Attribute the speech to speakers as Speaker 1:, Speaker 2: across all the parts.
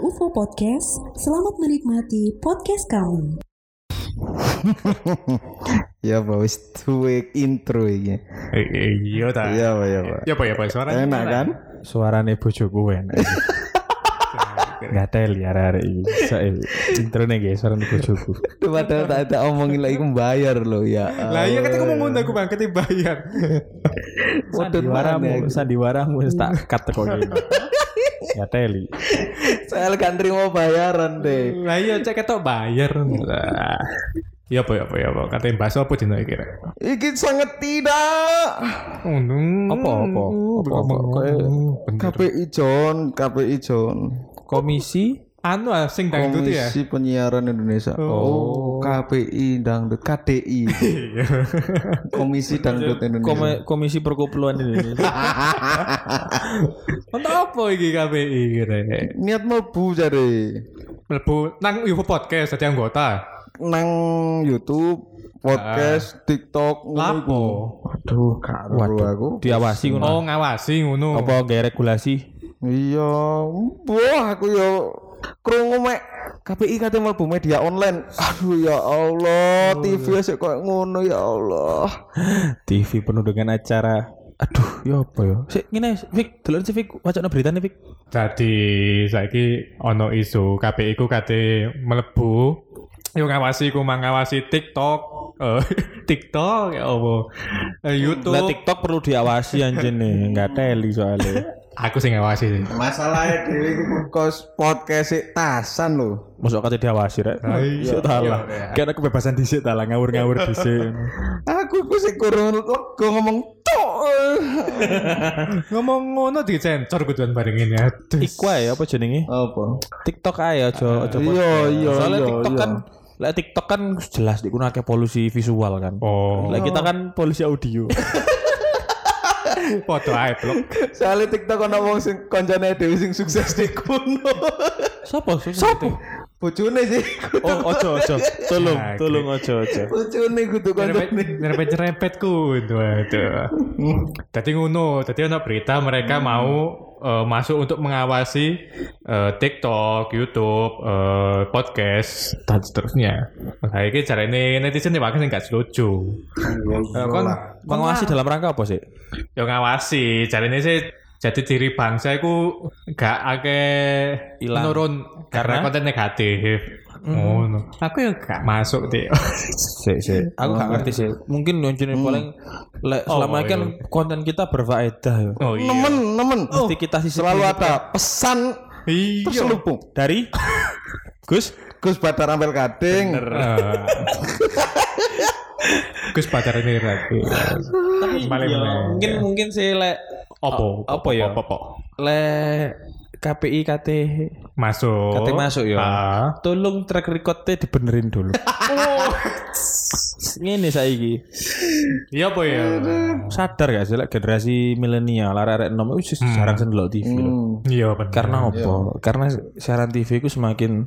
Speaker 1: Podcast. Selamat menikmati podcast kamu.
Speaker 2: ya pak wis tuwek intro iki.
Speaker 3: I- i- Iya ta.
Speaker 2: Iya pak ya pak.
Speaker 3: Ya apa ya apa suaranya.
Speaker 2: Enak kan?
Speaker 4: suarane bojoku enak nggak ya, teli hari-hari ini saya intro nih guys eh, suarane bojoku
Speaker 2: Duh, Padahal tak tak omongin lagi membayar loh ya.
Speaker 3: Lah iya ketika mau ngundang aku bang, ketika bayar.
Speaker 2: Waduh,
Speaker 4: sandiwaramu
Speaker 2: mana?
Speaker 4: sandiwaramu wis tak cut teko ini nggak teli
Speaker 2: Saya kan terima bayaran deh.
Speaker 3: Lah iya cek ketok bayar. Lah. Ya apa ya apa ya apa. Katanya bahasa apa dino iki rek?
Speaker 2: Iki sangat tidak.
Speaker 3: Ngono.
Speaker 4: Apa, apa? Apa, apa?
Speaker 2: eh,
Speaker 3: Apa
Speaker 2: KPI John, KPI John.
Speaker 4: komisi
Speaker 3: anu ah sing dangdut ya.
Speaker 2: Komisi Penyiaran Indonesia. Oh, KPI dangdut KDI. Komisi Dangdut Indonesia.
Speaker 4: Kome- komisi perkumpulan Indonesia
Speaker 3: Untuk apa iki KPI iki rek?
Speaker 2: Niat mlebu jare
Speaker 3: Mlebu nang yo podcast dadi anggota.
Speaker 2: nang YouTube, podcast, TikTok, ngono iku.
Speaker 3: Lapo?
Speaker 2: Aduh, karo aku.
Speaker 3: Oh
Speaker 4: diawasi ngono
Speaker 3: ngawasi ngono.
Speaker 4: apa gak regulasi
Speaker 2: Iya, wah aku yo krungu mek KPI kate mlebu media online. Aduh ya Allah, TV sik koyo ngono ya Allah.
Speaker 4: TV penuh dengan acara aduh ya apa ya sik ngene Fik delok sik Fik wacana berita nih Fik
Speaker 3: Jadi saiki ono isu KPI ku kate mlebu yo ngawasi ku mang ngawasi TikTok eh, TikTok ya opo Eh, YouTube
Speaker 4: lah TikTok perlu diawasi anjen nih nggak teli soalnya
Speaker 3: aku sing ngawasi sih
Speaker 2: Masalahnya dhewe iku kos podcast sik tasan lho.
Speaker 4: Masuk kate diawasi rek.
Speaker 3: Nah, iya.
Speaker 4: Sik talah.
Speaker 3: Iya, iya.
Speaker 4: Kena kebebasan dhisik talah ngawur-ngawur dhisik.
Speaker 2: Aku iku sik kurang lega ngomong tok.
Speaker 3: ngomong ngono dicensor kuduan barengin ya Aduh.
Speaker 4: Iku ae apa jenenge?
Speaker 2: Apa?
Speaker 4: TikTok ae aja aja.
Speaker 2: Iya, iya,
Speaker 4: Soalnya
Speaker 2: iya,
Speaker 4: TikTok
Speaker 2: iya.
Speaker 4: kan lah TikTok kan jelas digunakan polusi visual kan.
Speaker 3: oh
Speaker 4: Lah kita kan polusi audio.
Speaker 3: foto ae blok
Speaker 2: Soalnya TikTok ana wong sing koncone dhewe sing sukses di kuno.
Speaker 4: Sopo? Sopo?
Speaker 2: Bojone sih.
Speaker 4: Oh, ojo ojo. Tolong,
Speaker 3: Nah,
Speaker 4: tolong ojo ojo.
Speaker 2: Bojone kudu koncone.
Speaker 3: nyerempet nyerempet ku aduh jadi ngono jadi ono berita mereka mau eh, masuk untuk mengawasi eh, TikTok, YouTube, eh, podcast dan seterusnya. Nah, ini cara ini netizen nih makanya nggak setuju. Eh, kon
Speaker 4: Mengawasi dalam rangka apa sih?
Speaker 3: yo ngawasi cara ini sih jadi diri bangsa itu gak ake
Speaker 4: Ilang.
Speaker 3: menurun karena,
Speaker 4: Karena?
Speaker 3: konten negatif. Ngono. Aku ya gak masuk deh.
Speaker 4: Sik sik. Aku gak ngerti sih. Mungkin yang jenis paling lek selama ini kan konten kita berfaedah ya.
Speaker 3: Oh iya.
Speaker 2: Nemen, nemen. Oh,
Speaker 4: Mesti kita sisi
Speaker 2: Selalu ada pesan
Speaker 3: Iya.
Speaker 2: terselubung.
Speaker 4: dari Gus
Speaker 2: Gus Badar Ampel Kading.
Speaker 3: Eh. Gus pacar ini lagi. Paling
Speaker 4: Ya,
Speaker 3: meneng.
Speaker 4: mungkin
Speaker 2: Iya.
Speaker 4: mungkin sih le
Speaker 3: Opo.
Speaker 4: apa ya?
Speaker 3: Opo. opo.
Speaker 4: le KPI KT
Speaker 3: Masuk.
Speaker 4: KT masuk ya.
Speaker 3: Ah.
Speaker 4: tolong track recordnya dibenerin dulu
Speaker 2: Oh.
Speaker 4: ini saiki
Speaker 3: Iya apa ya?
Speaker 4: sadar gak sih le, generasi milenial arek-arek nom itu jarang sendelok TV lho.
Speaker 2: Hmm.
Speaker 3: Iya bener.
Speaker 4: karena apa karena siaran TV itu semakin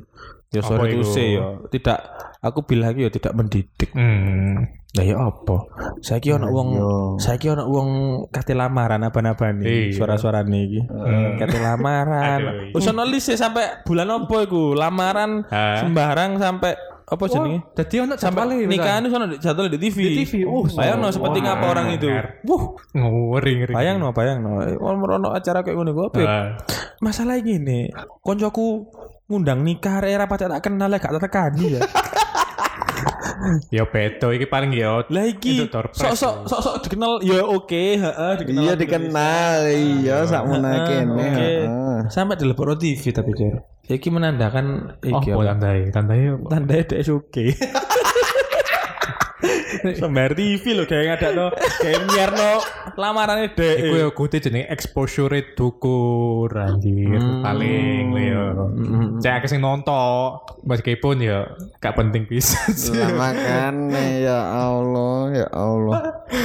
Speaker 4: ya
Speaker 3: Apa
Speaker 4: sorry to
Speaker 3: itu?
Speaker 4: say ya tidak aku bilang ya tidak mendidik
Speaker 3: Hmm.
Speaker 4: Lah ya apa? Saiki
Speaker 3: Iya.
Speaker 4: ana wong saiki ana wong kate lamaran abang-abane
Speaker 3: Iya.
Speaker 4: suara-suarane iki. Kate lamaran.
Speaker 3: Aduh. iya.
Speaker 4: Wis ana list sampai bulan apa iku? Lamaran
Speaker 3: Hah?
Speaker 4: sembarang sampai apa jenenge?
Speaker 3: Jadi ono
Speaker 4: Sampai nikahan itu ono jadwal di TV. Di TV. Uh, bayang sepenting apa orang itu. Wuh,
Speaker 3: Ngeri ngeri.
Speaker 4: bayang no, bayang no. Ono acara kayak ngono gue
Speaker 3: Ah.
Speaker 4: Masalah gini, koncoku ngundang nikah era pacar tak kenal ya gak tertekani ya.
Speaker 3: Ya beto iki paling ya.
Speaker 4: Lah iki
Speaker 3: Itu door prize.
Speaker 4: sok-sok sok-sok dikenal ya oke, heeh dikenal.
Speaker 2: Iya dikenal, iya sak Ah, menaken.
Speaker 4: Ah, Oke. Sampai di Leboro TV tapi Cer. Ya Iki menandakan
Speaker 3: Oh,
Speaker 4: iki
Speaker 3: apa
Speaker 4: apa?
Speaker 3: tandai? Tandai apa?
Speaker 4: Tanda dek suke. Sembar TV lho kayak ada no kayak nyiarno lamarannya dek.
Speaker 3: Iku ya kuti jenenge exposure dukur anjir
Speaker 4: Hmm.
Speaker 3: paling yo. Cek akeh sing nonton meskipun ya gak penting
Speaker 4: Iya.
Speaker 3: pisan.
Speaker 2: Lah makane ya Allah, ya Allah.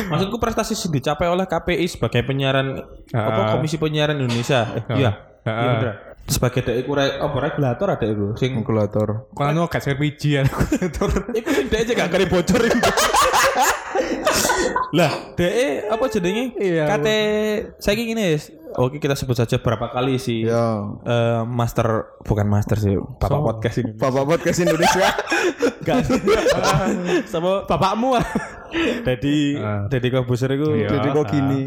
Speaker 4: Maksudku prestasi sing dicapai oleh KPI sebagai penyiaran apa Komisi Penyiaran Indonesia. Eh, Iya.
Speaker 3: Heeh.
Speaker 4: Iya bener. Sebagai dek iku re- apa regulator ada iku sing
Speaker 2: Regulator.
Speaker 3: Kalau anu gak sing piji aku.
Speaker 4: Iku sing dhek aja gak kare bocor iku. e lah, dhek apa jenenge? Kate saiki ngene, oke kita sebut saja berapa kali si
Speaker 2: Ya.
Speaker 4: eh, master bukan master sih, bapak podcast ini.
Speaker 2: Bapak podcast Indonesia.
Speaker 4: Gak. Sama bapakmu. Jadi jadi kok buser iku
Speaker 3: Iya.
Speaker 2: Jadi kok gini.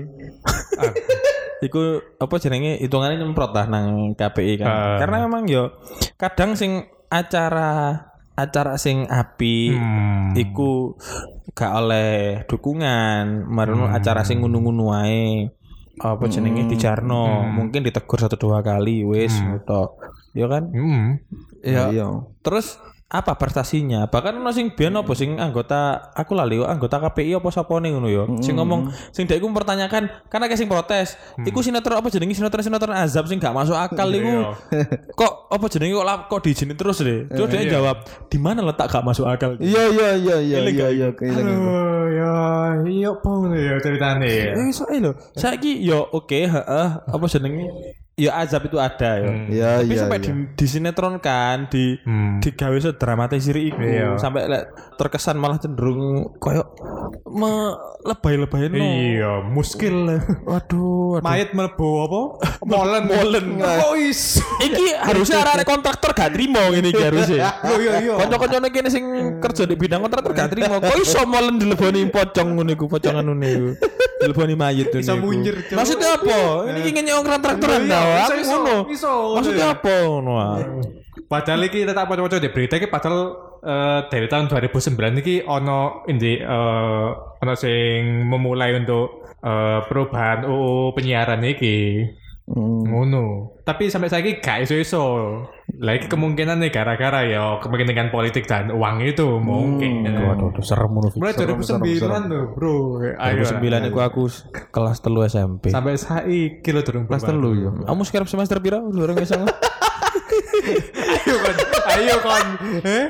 Speaker 4: iku apa jenenge hitungannya nyemprot lah nang KPI kan.
Speaker 3: Ah.
Speaker 4: Karena memang yo kadang sing acara acara sing api
Speaker 3: Hmm.
Speaker 4: iku gak oleh dukungan
Speaker 3: Hmm.
Speaker 4: merono acara sing ngunu-ngunu wae apa jenenge dijarno
Speaker 3: Hmm.
Speaker 4: mungkin ditegur satu dua kali wis ngono ya kan
Speaker 3: Hmm.
Speaker 4: ya
Speaker 2: Iya.
Speaker 4: terus apa prestasinya bahkan ono sing biyen apa sing anggota aku lali kok, anggota KPI apa sapone ngono ya sing ngomong sing dek iku mempertanyakan karena kayak sing protes iku sinetron apa jenenge sinetron-sinetron azab sing gak masuk akal iku kok apa jenenge kok lap- kok diizinin terus deh terus dia jawab di mana letak gak masuk akal
Speaker 2: Iya iya iya iya iya iya. kehilangan gua.
Speaker 3: Aduh, ya, iya apa ngono ya ceritane ya.
Speaker 4: Eh, soalnya lho, saiki yo oke, heeh, apa jenenge? Ya azab itu ada ya.
Speaker 2: Iya
Speaker 4: Tapi
Speaker 2: iya.
Speaker 4: sampai
Speaker 2: iya.
Speaker 4: di, disinetronkan, di
Speaker 3: Hmm.
Speaker 4: digawe sedramatisir iku
Speaker 3: Iya.
Speaker 4: sampai lek terkesan malah cenderung koyo melebay-lebayno.
Speaker 3: Iya, muskil.
Speaker 4: Waduh, waduh.
Speaker 3: Mayat mlebu apa? Molen. Molen. Wis.
Speaker 4: Iki
Speaker 3: Iya,
Speaker 4: harusnya arah kontraktor gak trimo ngene iki harusnya.
Speaker 3: Yo yo yo.
Speaker 4: Kanca-kancane kene sing kerja di bidang kontraktor gak trimo. Kok iso molen dileboni pocong ngono iku, pocongan ngono iku. Dileboni mayit ngono.
Speaker 3: Bisa
Speaker 4: iku.
Speaker 3: munyer, Cuk.
Speaker 4: Maksudnya apa? Ini ingin nyong kontraktoran
Speaker 3: Iya,
Speaker 4: ta,
Speaker 3: iya,
Speaker 4: aku
Speaker 3: iso,
Speaker 4: ngono.
Speaker 3: iso, ngono
Speaker 4: Maksudnya
Speaker 3: ya.
Speaker 4: apa ngono? ah?
Speaker 3: Padahal iki tetap pacar-pacar di berita iki padahal eh, dari tahun 2009 iki ono ini eh, ono sing memulai untuk eh, perubahan UU penyiaran iki.
Speaker 4: Hmm.
Speaker 3: Ngono. Tapi sampai saiki gak iso-iso. Lah iki kemungkinan nih gara-gara ya kepentingan politik dan uang itu mungkin.
Speaker 4: Hmm. Waduh, waduh, serem ngono.
Speaker 3: Mulai 2009 loh, Bro. Eh, Ayo.
Speaker 4: 2009 iku aku s- kelas telu SMP.
Speaker 3: sampai saiki lo durung
Speaker 2: Kelas
Speaker 3: berubah.
Speaker 2: telu ya.
Speaker 4: Kamu sekarang semester pira? Durung iso.
Speaker 3: Ayo kon. Ayo kon. Eh?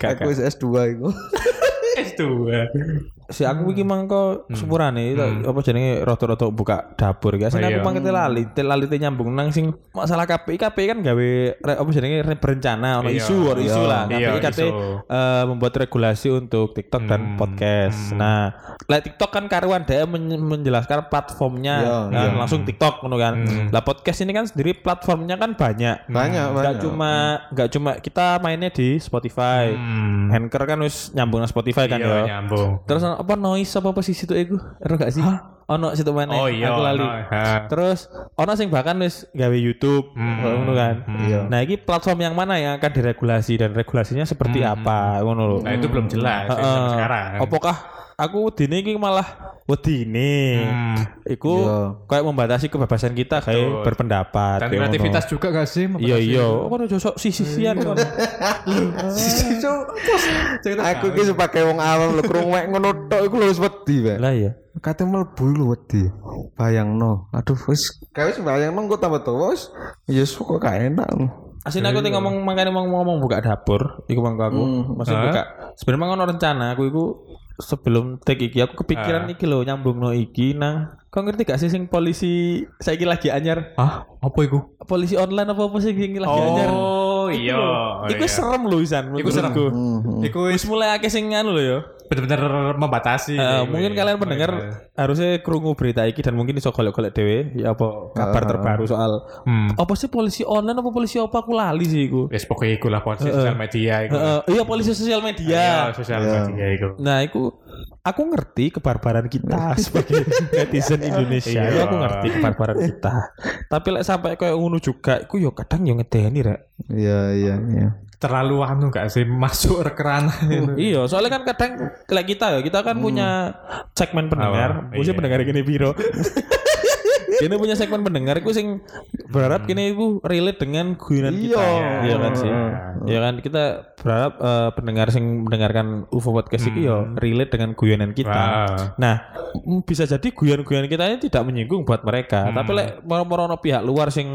Speaker 2: Aku wis S2 iku.
Speaker 3: S2.
Speaker 4: Si aku iki
Speaker 3: Hmm.
Speaker 4: mangko sepurane itu apa jenenge rada-rada buka dapur ya.
Speaker 3: Oh,
Speaker 4: Sing
Speaker 3: iya.
Speaker 4: aku mangke lali, te- lali te nyambung nang sing masalah KPI, KPI kan gawe re- apa jenenge re- berencana ono
Speaker 3: Iya.
Speaker 4: isu, ono isu lah.
Speaker 3: Iya,
Speaker 4: KPI kate
Speaker 3: isu. Hmm.
Speaker 4: eh, membuat regulasi untuk TikTok dan podcast. Nah, lek TikTok kan karuan dia men- menjelaskan platformnya
Speaker 2: Iya,
Speaker 4: dan langsung TikTok ngono kan.
Speaker 3: Hmm.
Speaker 4: Lah podcast ini kan sendiri platformnya kan banyak.
Speaker 2: Banyak Hmm.
Speaker 4: Gak
Speaker 2: banyak.
Speaker 4: cuma gak cuma kita mainnya di Spotify.
Speaker 3: Hmm.
Speaker 4: Anchor kan wis nyambung nang Spotify kan
Speaker 3: Iya,
Speaker 4: ya.
Speaker 3: nyambung.
Speaker 4: Terus ono- apa noise apa apa sih situ iku? Ero gak sih? Ono situ mana?
Speaker 3: Oh iya,
Speaker 4: aku lali.
Speaker 3: ono, ha. Hmm,
Speaker 4: Terus ono sing bahkan wis gawe YouTube ngono kan. Nah, iki platform yang mana yang akan diregulasi dan regulasinya seperti apa ngono lho.
Speaker 3: Hmm. Nah, itu belum jelas ya,
Speaker 4: Heeh.
Speaker 3: sampai sekarang.
Speaker 4: Apakah aku dini iki malah wedine. Iku
Speaker 2: Iya.
Speaker 4: kayak membatasi kebebasan kita kayak
Speaker 3: Hmm. Betul.
Speaker 4: berpendapat.
Speaker 3: Dan
Speaker 4: kayak ngono.
Speaker 3: kreativitas juga gak sih?
Speaker 4: Iya iya, kok ada josok sisi-sisian kan.
Speaker 2: Aku iki sebagai wong awam lho krungu mek ngono tok iku lho wis wedi Pak.
Speaker 4: Lah ya.
Speaker 2: Kate mlebu lu wedi. Bayangno. Aduh wis gawe wis bayangno engko tambah tuwa wis ya wis kok gak enak.
Speaker 4: Asin aku tuh ngomong makanya mau ngomong buka dapur, iku mangko aku, masih
Speaker 3: Hmm. Hah?
Speaker 4: buka. Sebenarnya ngono rencana aku iku sebelum take iki aku
Speaker 3: Ah.
Speaker 4: kepikiran iki lho nyambung no iki nang kau ngerti gak sih sing polisi saiki lagi anyar
Speaker 3: Ah, apa itu?
Speaker 4: polisi online apa apa sih sing lagi anyar
Speaker 3: Oh
Speaker 4: Iku
Speaker 3: iya.
Speaker 4: lho.
Speaker 3: Oh,
Speaker 4: iku
Speaker 3: iya.
Speaker 4: serem lho Isan
Speaker 3: Iku serem.
Speaker 4: menurutku.
Speaker 2: Mhm.
Speaker 3: Iku
Speaker 4: wis mulai akeh sing anu lho ya
Speaker 3: bener-bener membatasi.
Speaker 4: Eh,
Speaker 3: Iku,
Speaker 4: mungkin
Speaker 3: iya.
Speaker 4: kalian
Speaker 3: Mulai-
Speaker 4: pendengar
Speaker 3: mulai.
Speaker 4: harusnya kerungu berita iki dan mungkin iso golek-golek dhewe ya apa
Speaker 2: Ah.
Speaker 3: Ah.
Speaker 4: kabar terbaru soal
Speaker 3: Hmm.
Speaker 4: apa sih polisi online apa polisi apa aku lali sih iku.
Speaker 3: Wis pokoknya iku lah polisi sosial media iku.
Speaker 4: Heeh, iya polisi sosial
Speaker 3: Iya,
Speaker 4: media.
Speaker 3: sosial media iku.
Speaker 4: Nah, aku aku ngerti kebarbaran kita sebagai netizen Indonesia.
Speaker 3: Iya.
Speaker 4: Iya, aku ngerti kebarbaran kita. Tapi lek sampai kayak ngono juga, iku yo kadang yo ngedeni rek.
Speaker 2: Iya iya iya.
Speaker 3: Terlalu anu gak sih masuk ke ranah itu.
Speaker 4: Iya, soalnya kan kadang lek kita ya, kita kan punya segmen pendengar,
Speaker 3: Hmm. Apa?
Speaker 4: Maksudnya
Speaker 3: Iya.
Speaker 4: pendengar gini piro. Kini punya segmen pendengar, aku sing
Speaker 3: Hmm.
Speaker 4: berharap kini aku relate dengan guyonan kita.
Speaker 2: Iya.
Speaker 4: Iya kan sih.
Speaker 3: Hmm.
Speaker 4: Iya kan kita berharap eh, pendengar sing mendengarkan UFO podcast iki yo relate dengan guyonan kita.
Speaker 3: Hmm. Wah.
Speaker 4: Nah, m- bisa jadi guyon-guyon kita ini tidak menyinggung buat mereka. Tapi lek moro-moro ono pihak luar sing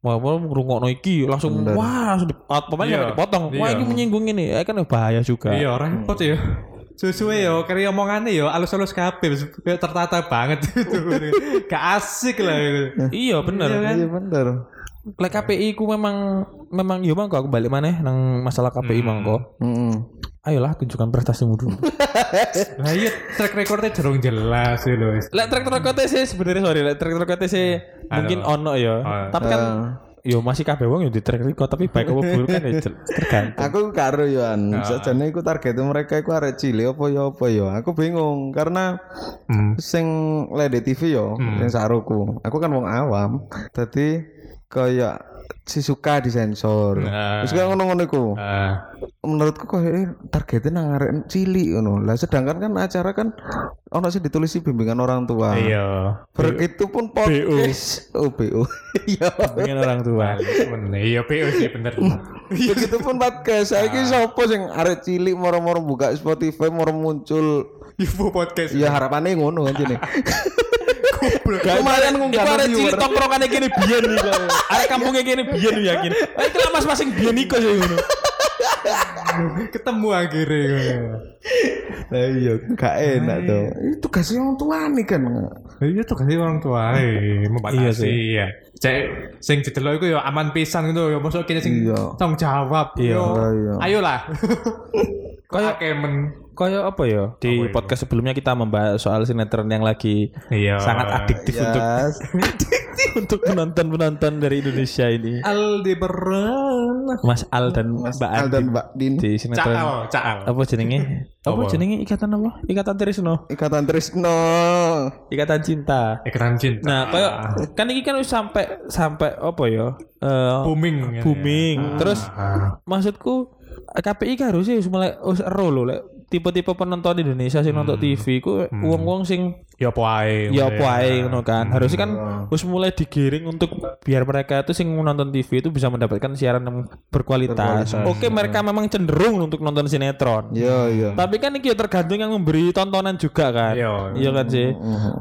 Speaker 4: moro-moro ngrungokno iki langsung wah langsung di, out- pemain
Speaker 3: Iya.
Speaker 4: sampai dipotong. Wah
Speaker 3: Iya.
Speaker 4: iki menyinggung ini. Eh, kan bahaya juga.
Speaker 3: Iya, repot ya. Susuwe yo, kari omongannya yo, ya, alus-alus kabeh wis kayak tertata banget itu. Gak asik lah ya. itu.
Speaker 4: Iya bener.
Speaker 2: Iya bener.
Speaker 4: Lek iya, Hmm.
Speaker 2: Mhm.
Speaker 4: KPI ku memang memang yo mangko aku balik maneh nang masalah KPI mangko.
Speaker 2: Heeh.
Speaker 4: ayolah tunjukkan prestasimu dulu.
Speaker 3: Lah iya track recordnya jerung jelas sih lho.
Speaker 4: Lek track recordnya sih sebenarnya sorry, lek track recordnya sih mungkin ono ya.
Speaker 3: Ah.
Speaker 4: Tapi kan Iya. yo masih kabeh wong yo di track record tapi baik apa buruk kan ya jel- tergantung.
Speaker 2: Aku karo Yohan.
Speaker 4: Ah.
Speaker 2: Sajane iku target mereka iku arek cilik apa ya apa ya. Aku bingung karena
Speaker 3: Hmm.
Speaker 2: sing lede TV yo sing saruku. Aku kan wong awam. Dadi kaya si suka disensor.
Speaker 3: Nah.
Speaker 2: Terus kayak ngono-ngono iku.
Speaker 3: Ah,
Speaker 2: Menurutku kok eh, targetnya nang arek cilik ngono. Lah sedangkan kan acara kan ono sing ditulisi bimbingan orang tua.
Speaker 3: iya.
Speaker 2: Begitu pun podcast OBO. Iya.
Speaker 4: Pengen orang tua.
Speaker 3: Bener, Iya PO sih bener.
Speaker 2: Begitu pun podcast saya ki sapa sing arek cilik moro-moro buka Spotify moro muncul
Speaker 3: Ibu podcast.
Speaker 2: ya harapannya ngono kan jene.
Speaker 3: Iya,
Speaker 2: Kemarin
Speaker 4: Iku
Speaker 2: ngunggah
Speaker 4: arek cilik
Speaker 2: viewer.
Speaker 4: tongkrongane kene biyen iki. kok. Arek kampungnya kene biyen yo yakin. Lah iki lah mas-masing biyen iku sih ngono.
Speaker 3: Ketemu akhirnya. iya.
Speaker 2: Lah iya gak enak tuh. Itu kasih iya. orang tua nih kan.
Speaker 3: Iya tuh kasih orang tua eh, membatasi
Speaker 4: Iya
Speaker 3: iya
Speaker 4: sih.
Speaker 3: ya. Cek sing didelok iku ya aman pisan gitu ya mosok kene sing
Speaker 2: Iya.
Speaker 3: tanggung jawab. Iya.
Speaker 2: Iya.
Speaker 3: Ayolah. Kayak kemen.
Speaker 4: Kayak apa ya? Di
Speaker 3: Apa ya?
Speaker 4: podcast sebelumnya kita membahas soal sinetron yang lagi
Speaker 3: Iya.
Speaker 4: sangat adiktif untuk
Speaker 2: Yes.
Speaker 4: untuk penonton-penonton dari Indonesia ini.
Speaker 3: Aldebaran.
Speaker 4: Mas Al dan Mbak
Speaker 2: Al
Speaker 4: Andi
Speaker 2: dan Mbak Din.
Speaker 4: di sinetron
Speaker 3: Caal, caal.
Speaker 4: apa jenenge? Apa
Speaker 3: Apa?
Speaker 4: jenenge ikatan apa? Ikatan Trisno,
Speaker 2: Ikatan Trisno.
Speaker 4: ikatan cinta.
Speaker 3: Ikatan cinta. Ah,
Speaker 4: Nah, kayak kan ini kan wis sampai sampai apa ya? Eh,
Speaker 3: booming.
Speaker 4: booming. Terus
Speaker 3: Iya. Ah.
Speaker 4: maksudku KPI kan harusnya wis mulai wis ero lho lek tipe-tipe penonton Indonesia sing nonton TV ku wong-wong sing
Speaker 3: Ya apa ae.
Speaker 4: ya apa ae ngono kan. Harusnya kan wis mulai digiring untuk biar mereka itu sing nonton TV itu bisa mendapatkan siaran yang berkualitas. Oke, mereka memang cenderung untuk nonton sinetron.
Speaker 2: Iya iya.
Speaker 4: Tapi kan iki ya tergantung yang memberi tontonan juga kan.
Speaker 3: Iya.
Speaker 4: Iya kan sih.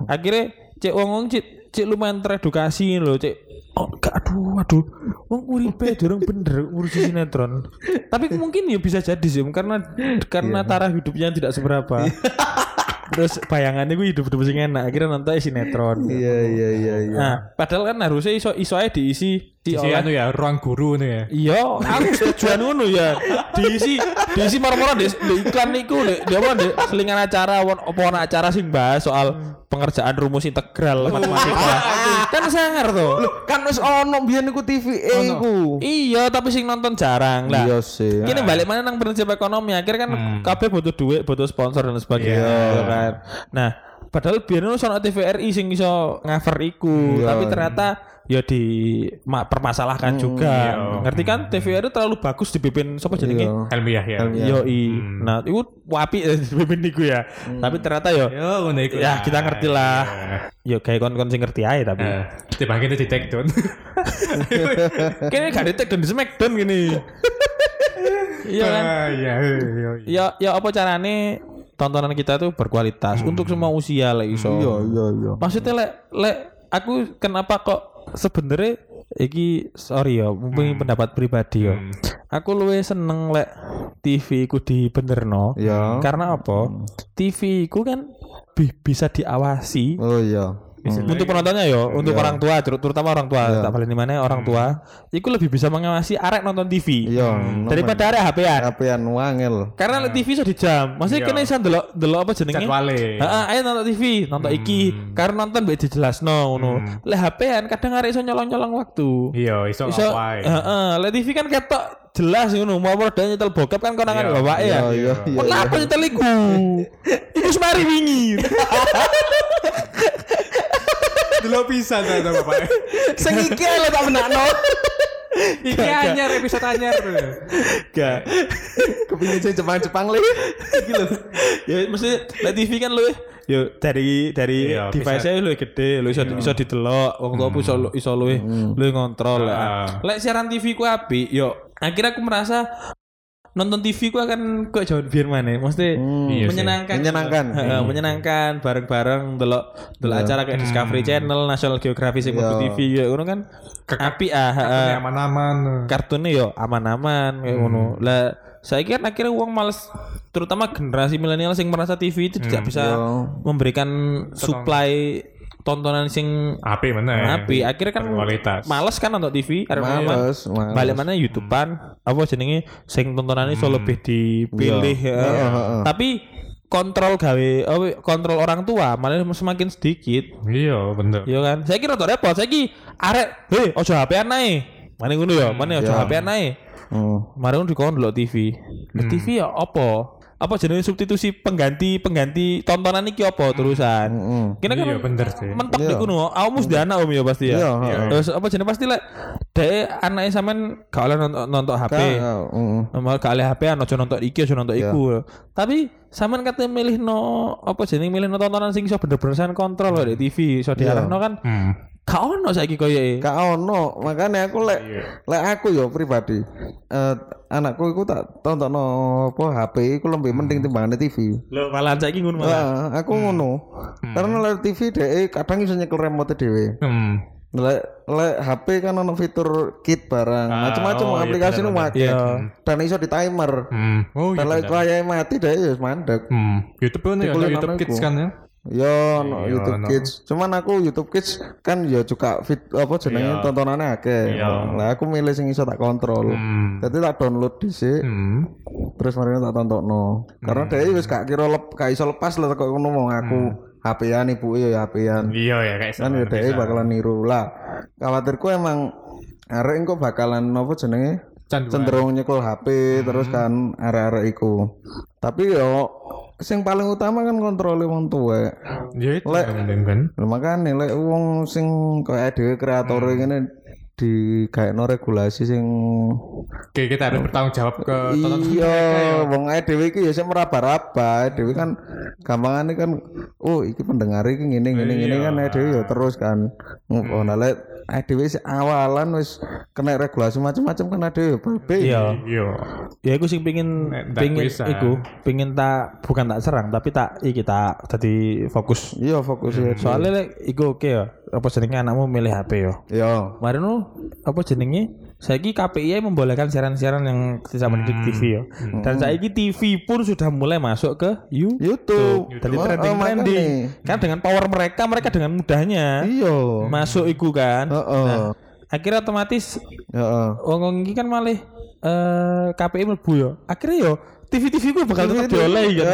Speaker 4: Akhirnya cek wong wong cek cek lumayan teredukasi loh cek. Oh, gak, aduh, aduh. Wong uripe durung bener ngurusi sinetron. Tapi mungkin ya bisa jadi sih karena karena taraf hidupnya tidak seberapa. Terus bayangannya gue hidup-hidup sing enak akhirnya nonton sinetron.
Speaker 2: Iya iya iya iya.
Speaker 4: Nah, padahal kan harusnya iso iso aja diisi di
Speaker 3: Si anu ya ruang guru nih ya.
Speaker 4: Iya, aku setujuan ngono ya. Diisi diisi marmora di, di iklan niku di, di apa di selingan acara won apa ana acara sing bahas soal pengerjaan rumus integral matematika. kan sangar tuh.
Speaker 2: Kan wis ono biyen iku TV E iku.
Speaker 4: Iya, tapi sing nonton jarang lah.
Speaker 2: Iya sih.
Speaker 4: Kini balik mana nang prinsip ekonomi akhirnya kan kabeh butuh duit, butuh sponsor dan sebagainya gitu kan. Nah, padahal biar itu soal TVRI sing iso ngaver iku, tapi ternyata ya di ma- permasalahkan juga. Ngerti kan TVRI terlalu bagus dipimpin siapa
Speaker 2: Iya.
Speaker 4: jenenge?
Speaker 3: Helmiah ya.
Speaker 4: Yoi. Nah, itu wapi eh, dipimpin iku ya. Tapi ternyata yo
Speaker 3: Yo ngono iku. Ah, iya.
Speaker 4: ya kita ngerti lah. Yo kayak kon-kon sing ngerti aja tapi.
Speaker 3: Eh, tiba kita di take down.
Speaker 4: Kayaknya gak di take down di smackdown gini. Iya kan?
Speaker 3: Ah, Iya, iya, iya.
Speaker 4: ya ya apa carane tontonan kita tuh berkualitas untuk semua usia lah iso.
Speaker 2: Hmm. Iya iya iya.
Speaker 4: Maksudnya lek lek aku kenapa kok sebenarnya iki sorry ya
Speaker 2: Hmm.
Speaker 4: mungkin pendapat pribadi ya. Aku luwe seneng lek TV ku dibenerno.
Speaker 2: Iya. Hmm.
Speaker 4: Karena apa? TV ku kan bi- bisa diawasi
Speaker 2: Oh iya.
Speaker 4: untuk penontonnya yo, untuk orang tua ter- terutama orang tua,
Speaker 2: Iya.
Speaker 4: tak paling dimana orang tua, itu lebih bisa mengawasi arek nonton TV
Speaker 2: Hmm. Iya.
Speaker 4: daripada arek HP-an.
Speaker 2: apean wangel.
Speaker 4: Karena TV sudah di jam. Maksudnya kena iso delok delok apa jenenge?
Speaker 3: Jadwale.
Speaker 4: Heeh, ayo nonton TV, nonton iki. Karena nonton mbek dijelasno ngono. Lah HP-an kadang arek iso nyolong-nyolong waktu.
Speaker 3: Iya, iso
Speaker 4: Iso
Speaker 3: ngapain.
Speaker 4: heeh, lah TV kan ketok jelas ngono. Mau modal nyetel bokep kan
Speaker 3: Iya.
Speaker 4: konangan bapak ya.
Speaker 2: Iya iya iya.
Speaker 4: Kenapa nyetel iku? Iku semari wingi.
Speaker 3: Delok pisan ta ta, Bapak.
Speaker 4: Sing iki lho tak benakno.
Speaker 3: Iki anyar episode anyar.
Speaker 4: Gak.
Speaker 2: Kepingin sing Jepang-Jepang lagi.
Speaker 4: ya mesti lek TV kan luwih ya dari dari
Speaker 3: Iya,
Speaker 4: device-nya luwih gede, lu iso iso didelok, wong tuaku iso lu- iso luwih luwih
Speaker 3: Ah.
Speaker 4: ngontrol. lah. Lek siaran TV ku apik, yo akhirnya aku merasa nonton TV ku akan kok jauh ya. biar mana mesti
Speaker 3: Iya sih.
Speaker 4: Hmm. menyenangkan
Speaker 2: Hmm.
Speaker 4: Hmm.
Speaker 2: Menyenangkan.
Speaker 4: Heeh,
Speaker 2: Iya.
Speaker 4: menyenangkan bareng-bareng delok delok acara kayak Discovery Channel National Geographic sing
Speaker 2: Iya.
Speaker 4: yeah. TV ya ngono kan apik ah heeh
Speaker 3: Aman-aman.
Speaker 4: kartunnya yo aman-aman kayak ngono.
Speaker 2: Hmm.
Speaker 4: Lah saya kan akhirnya uang males
Speaker 2: Hmm, iya.
Speaker 4: terutama generasi milenial yang merasa TV itu tidak bisa
Speaker 2: Yo.
Speaker 4: memberikan supply tontonan sing
Speaker 3: Api mana ya?
Speaker 4: api akhirnya kan
Speaker 3: Kualitas.
Speaker 4: males kan nonton TV arek omah.
Speaker 2: Eh, Males, Hmm. males.
Speaker 4: balik mana YouTubean apa jenenge sing tontonannya iso lebih dipilih ya.
Speaker 2: Hmm. Iya, iya.
Speaker 4: tapi kontrol gawe apa, kontrol orang tua malah semakin sedikit
Speaker 3: Iya, bener.
Speaker 4: ya kan saya kira rada repot saya ki arek hei ojo HP-an ae mana ngono ya mana ojo
Speaker 2: Iya.
Speaker 4: HP-an ae
Speaker 2: Hmm.
Speaker 4: mari ngono dikon delok TV
Speaker 3: Hmm.
Speaker 4: Lah, TV ya apa apa jenenge substitusi pengganti pengganti tontonan iki apa terusan
Speaker 2: hmm.
Speaker 4: kira kan
Speaker 3: Iya, bener sih.
Speaker 4: mentok
Speaker 2: Iya.
Speaker 4: di kuno awmus di anak om ya pasti
Speaker 2: Iya,
Speaker 4: ya Iya.
Speaker 2: heeh.
Speaker 4: terus apa jenenge pasti lek dek anaknya sampean gak oleh nonton nonton HP
Speaker 2: Ka- hmm.
Speaker 4: Malah gak oleh HP anu aja nonton iki
Speaker 2: Iya.
Speaker 4: aja nonton iku. Tapi sampean kate milih no apa jenenge milih no tontonan sing iso bener-bener sampean kontrol kok di TV
Speaker 2: Iya.
Speaker 4: iso diarahno kan
Speaker 3: Hmm.
Speaker 4: gak ono saiki koyoke.
Speaker 2: Gak ono, makanya aku lek lek aku yo pribadi. Eh anakku iku tak tonton apa HP iku
Speaker 3: Hmm.
Speaker 2: lebih penting timbangannya TV.
Speaker 4: Lho malahan saiki ngono
Speaker 2: Lah, aku ngono. Karena lek TV dhek kadang iso nyekel remote dhewe.
Speaker 3: Hmm.
Speaker 2: Lek lek HP kan ono fitur kit barang,
Speaker 3: Ah,
Speaker 2: macam-macam
Speaker 3: oh, iya,
Speaker 2: aplikasi nu
Speaker 3: bener-bener.
Speaker 2: make.
Speaker 4: Iya.
Speaker 2: Dan iso di timer.
Speaker 3: Hmm. Oh, iya.
Speaker 2: Dan lek
Speaker 3: bener.
Speaker 2: wayahe mati dhek ya wis mandek.
Speaker 3: Hmm. YouTube kan ya,
Speaker 2: Dikulit
Speaker 3: YouTube
Speaker 2: anakku.
Speaker 3: Kids kan ya.
Speaker 2: Yo, no,
Speaker 3: Iya,
Speaker 2: YouTube
Speaker 3: no.
Speaker 2: Kids. Cuman aku YouTube Kids kan ya juga fit apa jenenge
Speaker 3: Iya.
Speaker 2: tontonannya akeh.
Speaker 3: Iya.
Speaker 2: Lah aku milih sing iso tak kontrol.
Speaker 3: Hmm.
Speaker 2: Jadi tak download dhisik,
Speaker 3: Hmm.
Speaker 2: terus mari tak tontokno. Karena dhek wis gak kira lep, gak iso lepas lah kok ngono mau aku. HP-an ibu ya HP-an.
Speaker 3: Hmm. Iya ya kayak
Speaker 2: kan ya dhek bakalan niru lah khawatirku emang arek engko bakalan apa jenenge
Speaker 3: Canduan.
Speaker 2: cenderung nyekel HP
Speaker 3: Hmm.
Speaker 2: terus kan arek-arek iku tapi yo sing paling utama kan kontrole wong tuwek
Speaker 3: Ya itu
Speaker 2: Lek.
Speaker 3: kan, kan.
Speaker 2: lho makane lek wong sing kayak dhewe kreatore
Speaker 4: Hmm.
Speaker 2: ngene di regulasi sing
Speaker 3: Oke, kita
Speaker 4: Oh.
Speaker 3: harus bertanggung jawab ke tonton
Speaker 2: iya wong ae dhewe iki ya sing meraba-raba ae dhewe kan gampangane kan oh iki pendengar iki ngene ngene
Speaker 4: Iya.
Speaker 2: ngene kan ae dhewe ya terus kan
Speaker 4: Hmm.
Speaker 2: ngono nah, lek ae dhewe sik awalan wis kena regulasi macam-macam kan ae dhewe ya babe
Speaker 4: Iya.
Speaker 3: Iya.
Speaker 4: Ya aku sing
Speaker 2: Hmm,
Speaker 4: pingin
Speaker 3: Nek tak
Speaker 4: pingin
Speaker 2: ah.
Speaker 3: bisa.
Speaker 4: iku, pingin tak bukan tak serang tapi tak iki tak dadi fokus.
Speaker 2: iya fokus ya
Speaker 4: Soalnya lek iku oke ya. Apa jenenge anakmu milih HP ya?
Speaker 2: yo
Speaker 4: Marino apa jenenge? Saiki KPI membolehkan siaran-siaran yang sisa mendidik
Speaker 2: Hmm.
Speaker 4: TV ya. Dan saiki TV pun sudah mulai masuk ke you.
Speaker 2: YouTube
Speaker 4: Dari
Speaker 2: Ya, Oh,
Speaker 4: trending
Speaker 2: oh, makane.
Speaker 4: trending. Kan dengan power mereka, mereka dengan mudahnya
Speaker 2: iya Oh.
Speaker 4: masuk iku kan.
Speaker 2: heeh
Speaker 4: Akhirnya otomatis
Speaker 2: heeh
Speaker 4: wong iki kan malih eh KPI mlebu ya. Akhirnya yo TV-TV ku bakal
Speaker 2: TV-TV,
Speaker 4: tetep dioleh ya.
Speaker 2: ya,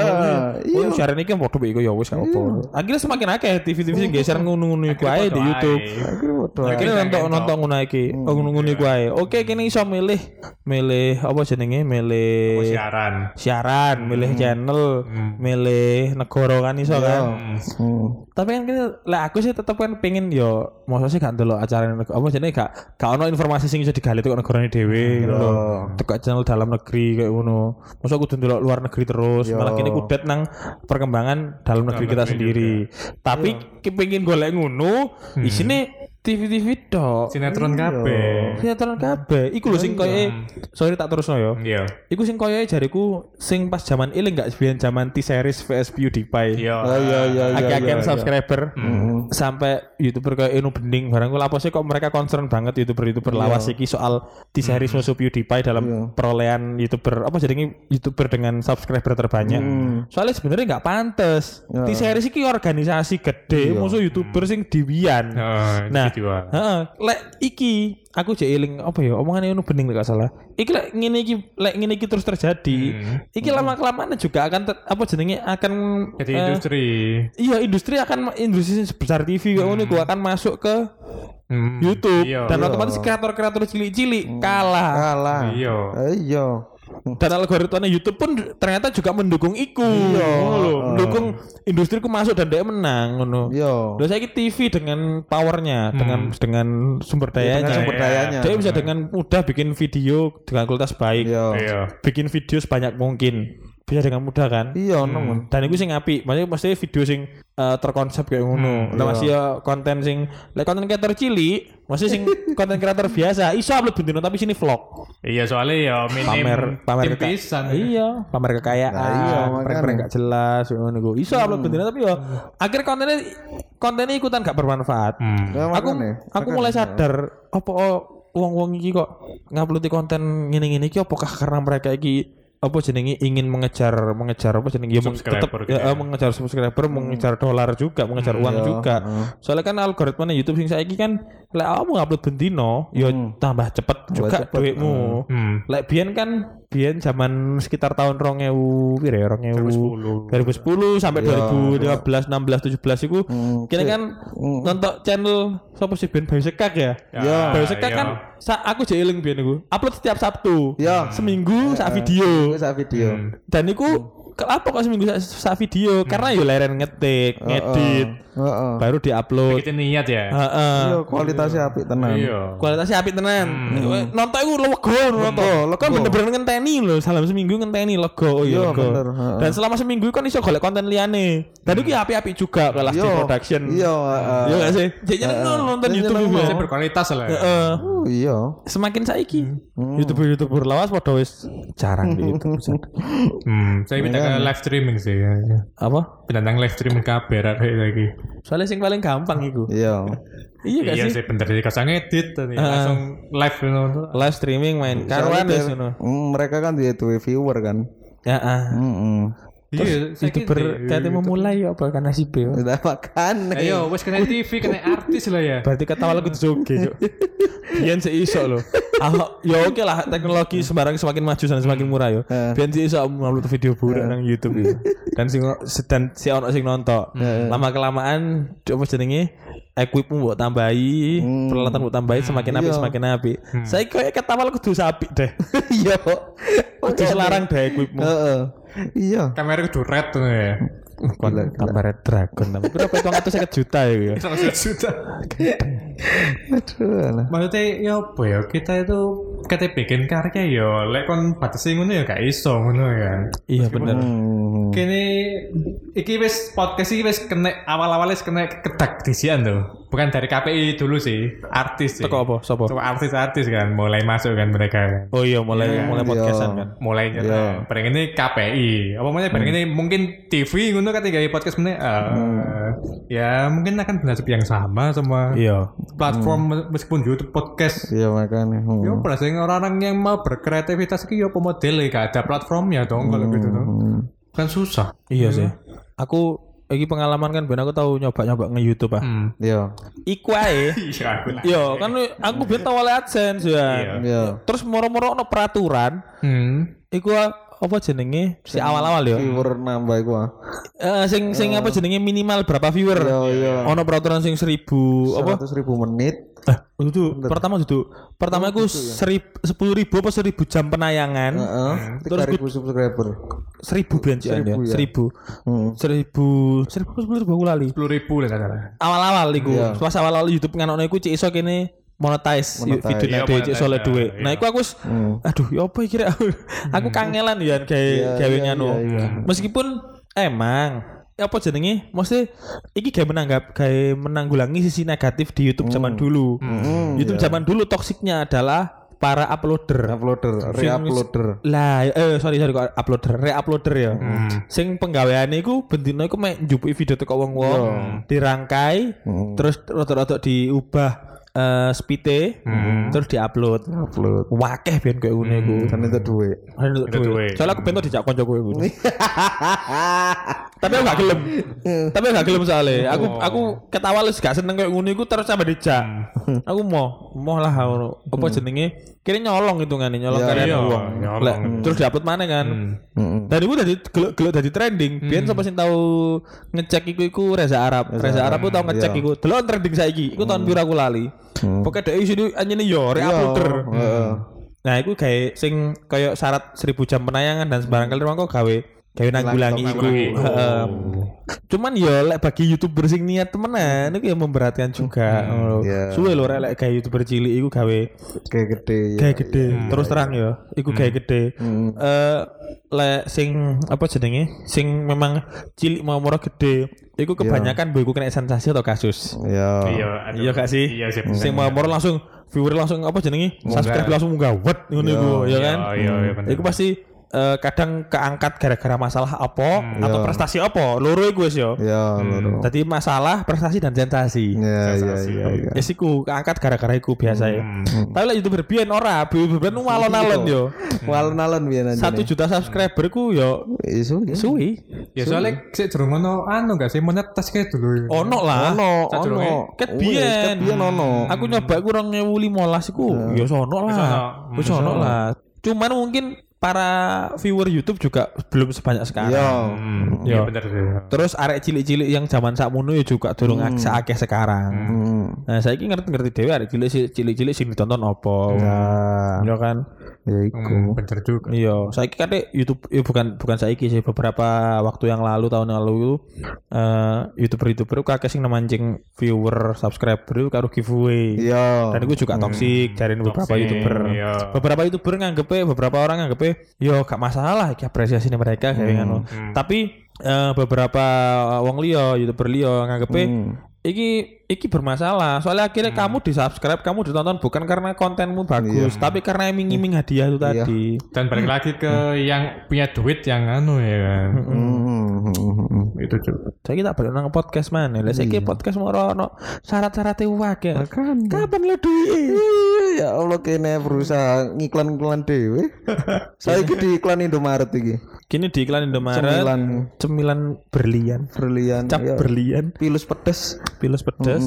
Speaker 2: iya.
Speaker 4: Oh, siaran iki produk iku ya wis gak apa-apa. Akhirnya semakin akeh TV-TV sing geser ngono-ngono iku ae di YouTube.
Speaker 2: akhirnya bodoh ae.
Speaker 4: Akhirnya nonton nonton ngono iki, oh, ngono ngono iku ae. Oke, kene iso milih milih apa jenenge? Milih
Speaker 3: Siaran.
Speaker 4: siaran, milih channel, milih negara kan iso kan.
Speaker 2: Hmm.
Speaker 4: Tapi kan kene lek aku sih tetep kan pengen yo mosok sih gak ndelok acara neg- apa jenenge gak gak ono informasi sing iso digali teko negarane dhewe gitu lho. Teko channel dalam negeri kayak ngono. Mosok kudu ndelok luar negeri terus, malah kene kudet nang perkembangan dalam negeri kita sendiri. Tapi kepengin golek ngono, isine TV-TV tok.
Speaker 3: Sinetron
Speaker 4: Iya.
Speaker 3: kabeh.
Speaker 4: Sinetron kabeh. Iku lho sing koyoke sorry tak terusno ya.
Speaker 3: Iya.
Speaker 4: Iku sing koyoke jariku sing pas zaman iling gak sebiyen zaman T-series VS PewDiePie.
Speaker 3: Iya.
Speaker 2: Oh, iya iya iya iya, Mm-hmm.
Speaker 4: Akeh-akeh
Speaker 2: iya.
Speaker 4: subscriber. Sampai YouTuber kayak Inu Bening barang kuwi sih kok mereka concern banget YouTuber-YouTuber
Speaker 2: Iya.
Speaker 4: lawas iki soal T-series
Speaker 2: Mm-hmm.
Speaker 4: musuh PewDiePie dalam perolehan YouTuber apa jadinya YouTuber dengan subscriber terbanyak.
Speaker 2: Mm-hmm.
Speaker 4: Soalnya sebenarnya nggak pantes.
Speaker 2: Iya.
Speaker 4: T-series iki organisasi gede musuh YouTuber sing diwian.
Speaker 3: Nah,
Speaker 4: Nah,
Speaker 3: gitu ah.
Speaker 4: heeh, lek iki aku jek eling apa ya omongane ono bening lek gak salah. Iki lek ngene iki lek ngene iki terus terjadi, iki
Speaker 2: Mm-hmm.
Speaker 4: lama-kelamaan juga akan ter- apa jenenge akan
Speaker 3: Mm-hmm. Jadi
Speaker 4: eh,
Speaker 3: industri.
Speaker 4: Iya, industri akan industri sebesar TV kayak ngono iku akan masuk ke
Speaker 3: Hmm.
Speaker 4: YouTube
Speaker 3: Iya.
Speaker 4: dan otomatis kreator-kreator cilik-cilik
Speaker 2: Hmm.
Speaker 4: kalah.
Speaker 2: kalah
Speaker 3: Iya.
Speaker 2: iya
Speaker 4: Dan algoritmanya YouTube pun ternyata juga mendukung iku.
Speaker 2: Iya.
Speaker 3: Oh,
Speaker 4: Ngono lho, mendukung industri ku masuk dan dia menang ngono.
Speaker 2: Ah. iya
Speaker 4: Loh saya ini TV dengan powernya, dengan
Speaker 3: Hmm.
Speaker 4: dengan sumber dayanya,
Speaker 2: Iya, dengan sumber dayanya.
Speaker 4: Dia bisa dengan mudah bikin video dengan kualitas baik,
Speaker 2: iya
Speaker 3: Iya.
Speaker 4: bikin video sebanyak mungkin, bisa dengan mudah kan?
Speaker 2: iya nemen
Speaker 4: Dan itu sing api, maksudnya maksudnya video sing eh, terkonsep kayak
Speaker 3: Hmm,
Speaker 4: ngono.
Speaker 3: iya.
Speaker 4: Nah, masih ya konten sing, like konten kreator cilik, masih sing konten kreator biasa, iso upload bendino tapi sini vlog,
Speaker 3: Iya soalnya ya minim
Speaker 4: pamer pamer
Speaker 3: tim
Speaker 4: keka-
Speaker 3: pisan.
Speaker 4: iya, pamer kekayaan,
Speaker 2: Nah, iya, makanya.
Speaker 4: prank-prank gak jelas, ngono iku. Iso
Speaker 3: Hmm.
Speaker 4: upload bendino tapi ya akhir kontennya kontennya ikutan gak bermanfaat.
Speaker 3: Hmm.
Speaker 2: Ya,
Speaker 4: aku
Speaker 2: makane.
Speaker 4: aku mulai sadar apa oh, wong-wong iki kok ngupload konten ngene-ngene iki apakah karena mereka iki apa jenenge ingin mengejar mengejar apa jenenge ya meng-
Speaker 3: Subscriber
Speaker 4: tetep-
Speaker 3: gitu
Speaker 4: ya,
Speaker 3: ya.
Speaker 4: eh, mengejar subscriber, mengejar dolar juga, mengejar uang
Speaker 2: Hmm. iya,
Speaker 4: juga.
Speaker 2: heeh.
Speaker 4: Soalnya kan algoritmanya YouTube sing saiki kan lek awakmu upload bendino ya tambah cepet juga
Speaker 2: Hmm. cepet,
Speaker 4: duitmu.
Speaker 3: Hmm.
Speaker 4: Lek biyen kan biyen zaman sekitar tahun 2000 pira ya 2010 2010 sampai 2015 16 17 iku
Speaker 2: Iya, Hmm,
Speaker 4: kira
Speaker 2: sih.
Speaker 4: kan
Speaker 2: Hmm.
Speaker 4: nonton channel sapa sih Ben Bayu Sekak ya.
Speaker 3: Ya,
Speaker 4: Bayu Sekak
Speaker 3: iya.
Speaker 4: kan sa- aku jadi eling biyen iku. Upload setiap Sabtu.
Speaker 2: Ya.
Speaker 4: Seminggu sak video.
Speaker 2: Iku sak video.
Speaker 4: Dan iku kenapa kok seminggu sak, sak video?
Speaker 3: Hmm.
Speaker 4: Karena yo leren ngetik, ngedit,
Speaker 2: Heeh.
Speaker 4: baru diupload.
Speaker 3: Bikin niat ya.
Speaker 4: Heeh.
Speaker 2: Iya, kualitasnya apik tenan.
Speaker 3: Iya.
Speaker 4: Kualitasnya apik tenan.
Speaker 3: Hmm.
Speaker 4: Nonton iku lego nonton.
Speaker 2: lego.
Speaker 4: Kan bener-bener ngenteni lho, salam seminggu ngenteni lego oh iya
Speaker 2: Iya,
Speaker 4: lego.
Speaker 2: bener, heeh.
Speaker 4: Dan selama seminggu kan iso golek konten liyane. Dan
Speaker 3: Hmm.
Speaker 4: iku ya apik-apik juga kelas di
Speaker 2: Iya,
Speaker 4: production.
Speaker 2: Iya, heeh.
Speaker 4: Iya gak sih? Jadi nonton
Speaker 2: Jadi
Speaker 4: YouTube
Speaker 2: nyeneng
Speaker 4: iku.
Speaker 2: banget.
Speaker 3: Saya berkualitas lah. ya.
Speaker 4: Heeh.
Speaker 2: Oh, Iya.
Speaker 4: Eh, Semakin saiki YouTuber-YouTuber lawas Hmm. padha wis jarang di YouTube. Jan.
Speaker 3: Hmm.
Speaker 4: Iya
Speaker 3: Saya minta
Speaker 4: kan?
Speaker 3: ke live streaming sih.
Speaker 4: Apa?
Speaker 3: Bintang live streaming kabar arek lagi.
Speaker 4: Soalnya sing paling gampang iku.
Speaker 2: Iya.
Speaker 4: Iya gak
Speaker 3: Iya
Speaker 4: sih?
Speaker 3: sih Ah. bener sih kasang edit tadi langsung live gitu.
Speaker 4: live streaming main
Speaker 3: Iya.
Speaker 2: Soalnya
Speaker 4: karuan ya, wis
Speaker 2: dia-
Speaker 4: ngono.
Speaker 2: Mm, mereka kan dia tuh viewer kan.
Speaker 4: Heeh.
Speaker 2: Heeh.
Speaker 3: Iya, saya
Speaker 4: Youtuber
Speaker 3: kira-
Speaker 4: kate memulai ya apa karena si Beo.
Speaker 2: Udah makan.
Speaker 3: Ayo, Eh, wes kena TV, kena artis lah ya.
Speaker 4: Berarti ketawa aku joge, Cuk. Biyen sih iso lho. Ahok, ya oke lah teknologi sembarang semakin maju dan semakin murah yo. Biyen sih iso upload video buruk nang YouTube yo. Dan sing dan si ono sing nonton. Lama kelamaan apa jenenge? Equipmu mbok tambahi,
Speaker 2: Hmm.
Speaker 4: peralatan mbok tambahi semakin apik semakin apik. Saya koyo ketawa aku kudu sapi deh.
Speaker 2: Iya.
Speaker 4: Kudu larang deh equipmu.
Speaker 2: Heeh. Iya.
Speaker 3: Kamera kudu red tuh ya.
Speaker 2: Gila,
Speaker 4: Kon tambah Red Dragon tambah berapa itu angkat juta ya ya.
Speaker 3: Seratus juta.
Speaker 2: Aduh. alah.
Speaker 3: Maksudnya ya apa ya kita itu kita bikin karya ya, lek kon batasi ngono ya gak iso ngono ya.
Speaker 4: Iya benar.
Speaker 2: Hmm.
Speaker 3: Kini iki wis podcast iki wis kena awal-awalnya wis kena kedak disian tuh. Bukan dari KPI dulu sih, artis sih.
Speaker 4: Teko apa? Sopo?
Speaker 3: Teko artis-artis kan mulai masuk kan mereka kan.
Speaker 4: Oh iya mulai mulai
Speaker 2: iya.
Speaker 4: podcastan kan.
Speaker 3: mulai nyerang. Bareng ini KPI. Apa namanya bareng
Speaker 4: Hmm.
Speaker 3: ini mungkin TV ngono kan tiga podcast meneh. eh, Ya mungkin akan nasib yang sama sama
Speaker 4: Iya.
Speaker 3: platform meskipun YouTube podcast. Ya,
Speaker 2: Iya makanya. Hmm.
Speaker 3: Yo, berarti orang-orang yang mau berkreativitas iki ya yo pemodel eh, gak ada platformnya dong kalau gitu tuh. Kan susah.
Speaker 4: Hmm. Iya sih. Aku lagi pengalaman kan ben aku tahu nyoba-nyoba nge-YouTube ah.
Speaker 3: Hmm.
Speaker 2: Iya.
Speaker 4: Iku ae.
Speaker 3: Iya, aku lah.
Speaker 4: Yo kan aku ben tau oleh AdSense ya.
Speaker 2: Iya.
Speaker 4: Terus moro-moro ono peraturan,
Speaker 3: Hmm.
Speaker 4: iku ah, apa jenenge si awal-awal yo.
Speaker 2: Viewer nambah ah. gua.
Speaker 4: Eh sing sing apa jenenge minimal berapa viewer?
Speaker 2: Iya, iya.
Speaker 4: Ono peraturan sing 1000 apa
Speaker 2: 100 ribu menit.
Speaker 4: Eh, itu pertama duduk.
Speaker 2: Oh,
Speaker 4: Pertama aku serib, sepuluh ribu apa seribu jam penayangan,
Speaker 2: iya. Heeh.
Speaker 4: Terus
Speaker 2: 3000 subscriber.
Speaker 4: seribu belanjaan ya,
Speaker 2: Seribu, ya.
Speaker 4: seribu,
Speaker 2: Hmm.
Speaker 4: seribu, seribu sepuluh ribu aku lali.
Speaker 3: 10 ribu lah kata.
Speaker 4: Awal-awal iku, pas awal-awal YouTube nganokno iku cek iso kene monetize, yuk, video
Speaker 3: Iya,
Speaker 4: nek dhewe cek iso oleh
Speaker 3: monetize,
Speaker 4: duwe.
Speaker 3: iya.
Speaker 4: Nah, iku aku wis, aduh ya apa iki rek? aku kangelan ya gawe gawe nganu. Meskipun emang ya apa jenenge mesti iki gawe menanggap gawe menanggulangi sisi negatif di YouTube zaman dulu. YouTube zaman dulu toksiknya adalah para uploader.
Speaker 2: Uploader, re-uploader.
Speaker 4: Lah, eh sorry sorry kok uploader, re-uploader ya. Sing penggaweane iku bendino iku mek njupuki video teko wong-wong, dirangkai, terus rotok-rotok diubah eh spite, terus diupload.
Speaker 2: Upload.
Speaker 4: Wakeh ben koyo ngene iku.
Speaker 2: Kan itu duit.
Speaker 4: Kan untuk
Speaker 3: Itu
Speaker 4: duwe.
Speaker 3: duwe.
Speaker 4: Soalnya aku bento dijak koncoku iku. Tapi aku gak gelem. Tapi aku gak gelem soalnya. Aku aku ketawa lu gak seneng koyo ngene iku terus sampe dijak. Aku mau, mau lah aku. apa jenenge? Kira nyolong hitungane, nyolong
Speaker 2: Iya,
Speaker 4: karya
Speaker 3: iya,
Speaker 4: wong.
Speaker 3: nyolong.
Speaker 4: Lah, Terus diupload mana kan?
Speaker 2: Heeh.
Speaker 4: Dan itu dari gelok-gelok dari trending. Biar siapa sih tahu ngecek iku iku Reza Arab. Reza Arab ku tahu ngecek
Speaker 2: iya.
Speaker 4: iku. Delok trending saiki. Iku tahun pira aku lali. Pokoknya dari sini anjene yo
Speaker 2: Iya.
Speaker 4: re uploader.
Speaker 2: Heeh.
Speaker 4: Nah, iku gawe sing kayak syarat 1000 jam penayangan dan sembarang kali mongko gawe gawe nanggulangi iku. Heeh. Cuman yo lek bagi YouTuber sing niat temenan iku ya memberatkan juga. ngono.
Speaker 2: iya.
Speaker 4: Suwe lho rek lek gawe YouTuber cilik iku gawe
Speaker 2: Kayak gede. ya.
Speaker 4: gaya gede terus terang ya iku gaya gede eh lek sing apa jenenge sing memang cilik mau murah gede iku kebanyakan yeah. kena sensasi atau kasus
Speaker 2: Iya.
Speaker 3: aduh.
Speaker 4: iya gak sih
Speaker 3: Iya sih.
Speaker 4: sing mau murah langsung viewer langsung apa jenenge subscribe langsung munggah wet ngono iku ya kan
Speaker 3: Iya, iya bener.
Speaker 4: iku pasti eh, kadang keangkat gara-gara masalah apa atau
Speaker 2: Iya.
Speaker 4: prestasi apa loro iku wis yo.
Speaker 2: Ya, loro.
Speaker 4: Dadi masalah, prestasi dan sensasi.
Speaker 2: Ya, ya, ya, ya.
Speaker 4: Ya siku keangkat gara-gara iku biasa ya. Tapi lah YouTuber biyen ora, YouTuber biyen walon-alon
Speaker 2: iya.
Speaker 4: yo.
Speaker 2: Walon-alon Gitu. biyen anjene.
Speaker 4: Satu juta subscriber ku yo
Speaker 2: isu. iya.
Speaker 4: suwi.
Speaker 3: Ya soalnya sik durung ono anu gak sih menetes kayak dulu.
Speaker 4: Ono lah.
Speaker 2: Ono,
Speaker 3: Sak
Speaker 2: ono.
Speaker 3: durunge.
Speaker 4: Ket
Speaker 2: Wis,
Speaker 4: biyen.
Speaker 2: Ket biyen ono.
Speaker 4: Aku nyoba aku 2015 iku ya sono lah.
Speaker 3: ono.
Speaker 4: Wis sono lah. Cuman mungkin para viewer YouTube juga belum
Speaker 2: Yo.
Speaker 4: sebanyak sekarang.
Speaker 3: Hmm, iya
Speaker 4: Yo.
Speaker 3: bener sih.
Speaker 4: Terus arek cilik-cilik yang zaman sakmono ya juga durung hmm. akeh sekarang.
Speaker 2: Hmm.
Speaker 4: Nah, saya ngerti-ngerti dhewe arek cilik si- cilik-cilik sing ditonton opo. Iya kan?
Speaker 2: Ah, Ya iku.
Speaker 3: Hmm, bener juga.
Speaker 4: Iya, saiki kan dek, YouTube eh, bukan bukan saiki sih beberapa waktu yang lalu tahun yang lalu eh YouTuber-YouTuber kakek sing nemancing viewer, subscriber karo giveaway.
Speaker 2: Yo.
Speaker 4: dan gue juga toksik cariin beberapa
Speaker 3: toxic,
Speaker 4: youtuber
Speaker 3: iya.
Speaker 4: beberapa youtuber nganggepe beberapa orang nganggepe yo gak masalah iki apresiasi mereka
Speaker 2: Hmm,
Speaker 4: kayak ngono tapi eh, beberapa eh, wong liya youtuber liya nganggepe
Speaker 2: Hmm.
Speaker 4: iki iki bermasalah soalnya akhirnya kamu di subscribe kamu ditonton bukan karena kontenmu
Speaker 2: Iya.
Speaker 4: bagus tapi karena iming-iming
Speaker 2: Hmm.
Speaker 4: hadiah itu tadi
Speaker 3: Dan balik lagi ke
Speaker 4: Hmm.
Speaker 3: yang punya duit yang anu ya kan.
Speaker 2: Hmm.
Speaker 3: Itu juga.
Speaker 4: saya kita balik nang podcast mana lah saya
Speaker 2: Iya.
Speaker 4: podcast mau ono syarat-syaratnya wae
Speaker 2: Kan.
Speaker 4: kapan lo duit
Speaker 2: Ya Allah kene berusaha ngiklan-ngiklan dhewe. Saiki di iklan Indomaret iki.
Speaker 4: kini di iklan Indomaret
Speaker 2: Cemilan. Iya.
Speaker 4: cemilan berlian
Speaker 2: Berlian.
Speaker 4: cap
Speaker 2: yo.
Speaker 4: berlian
Speaker 2: Pilus pedes.
Speaker 4: Pilus pedes,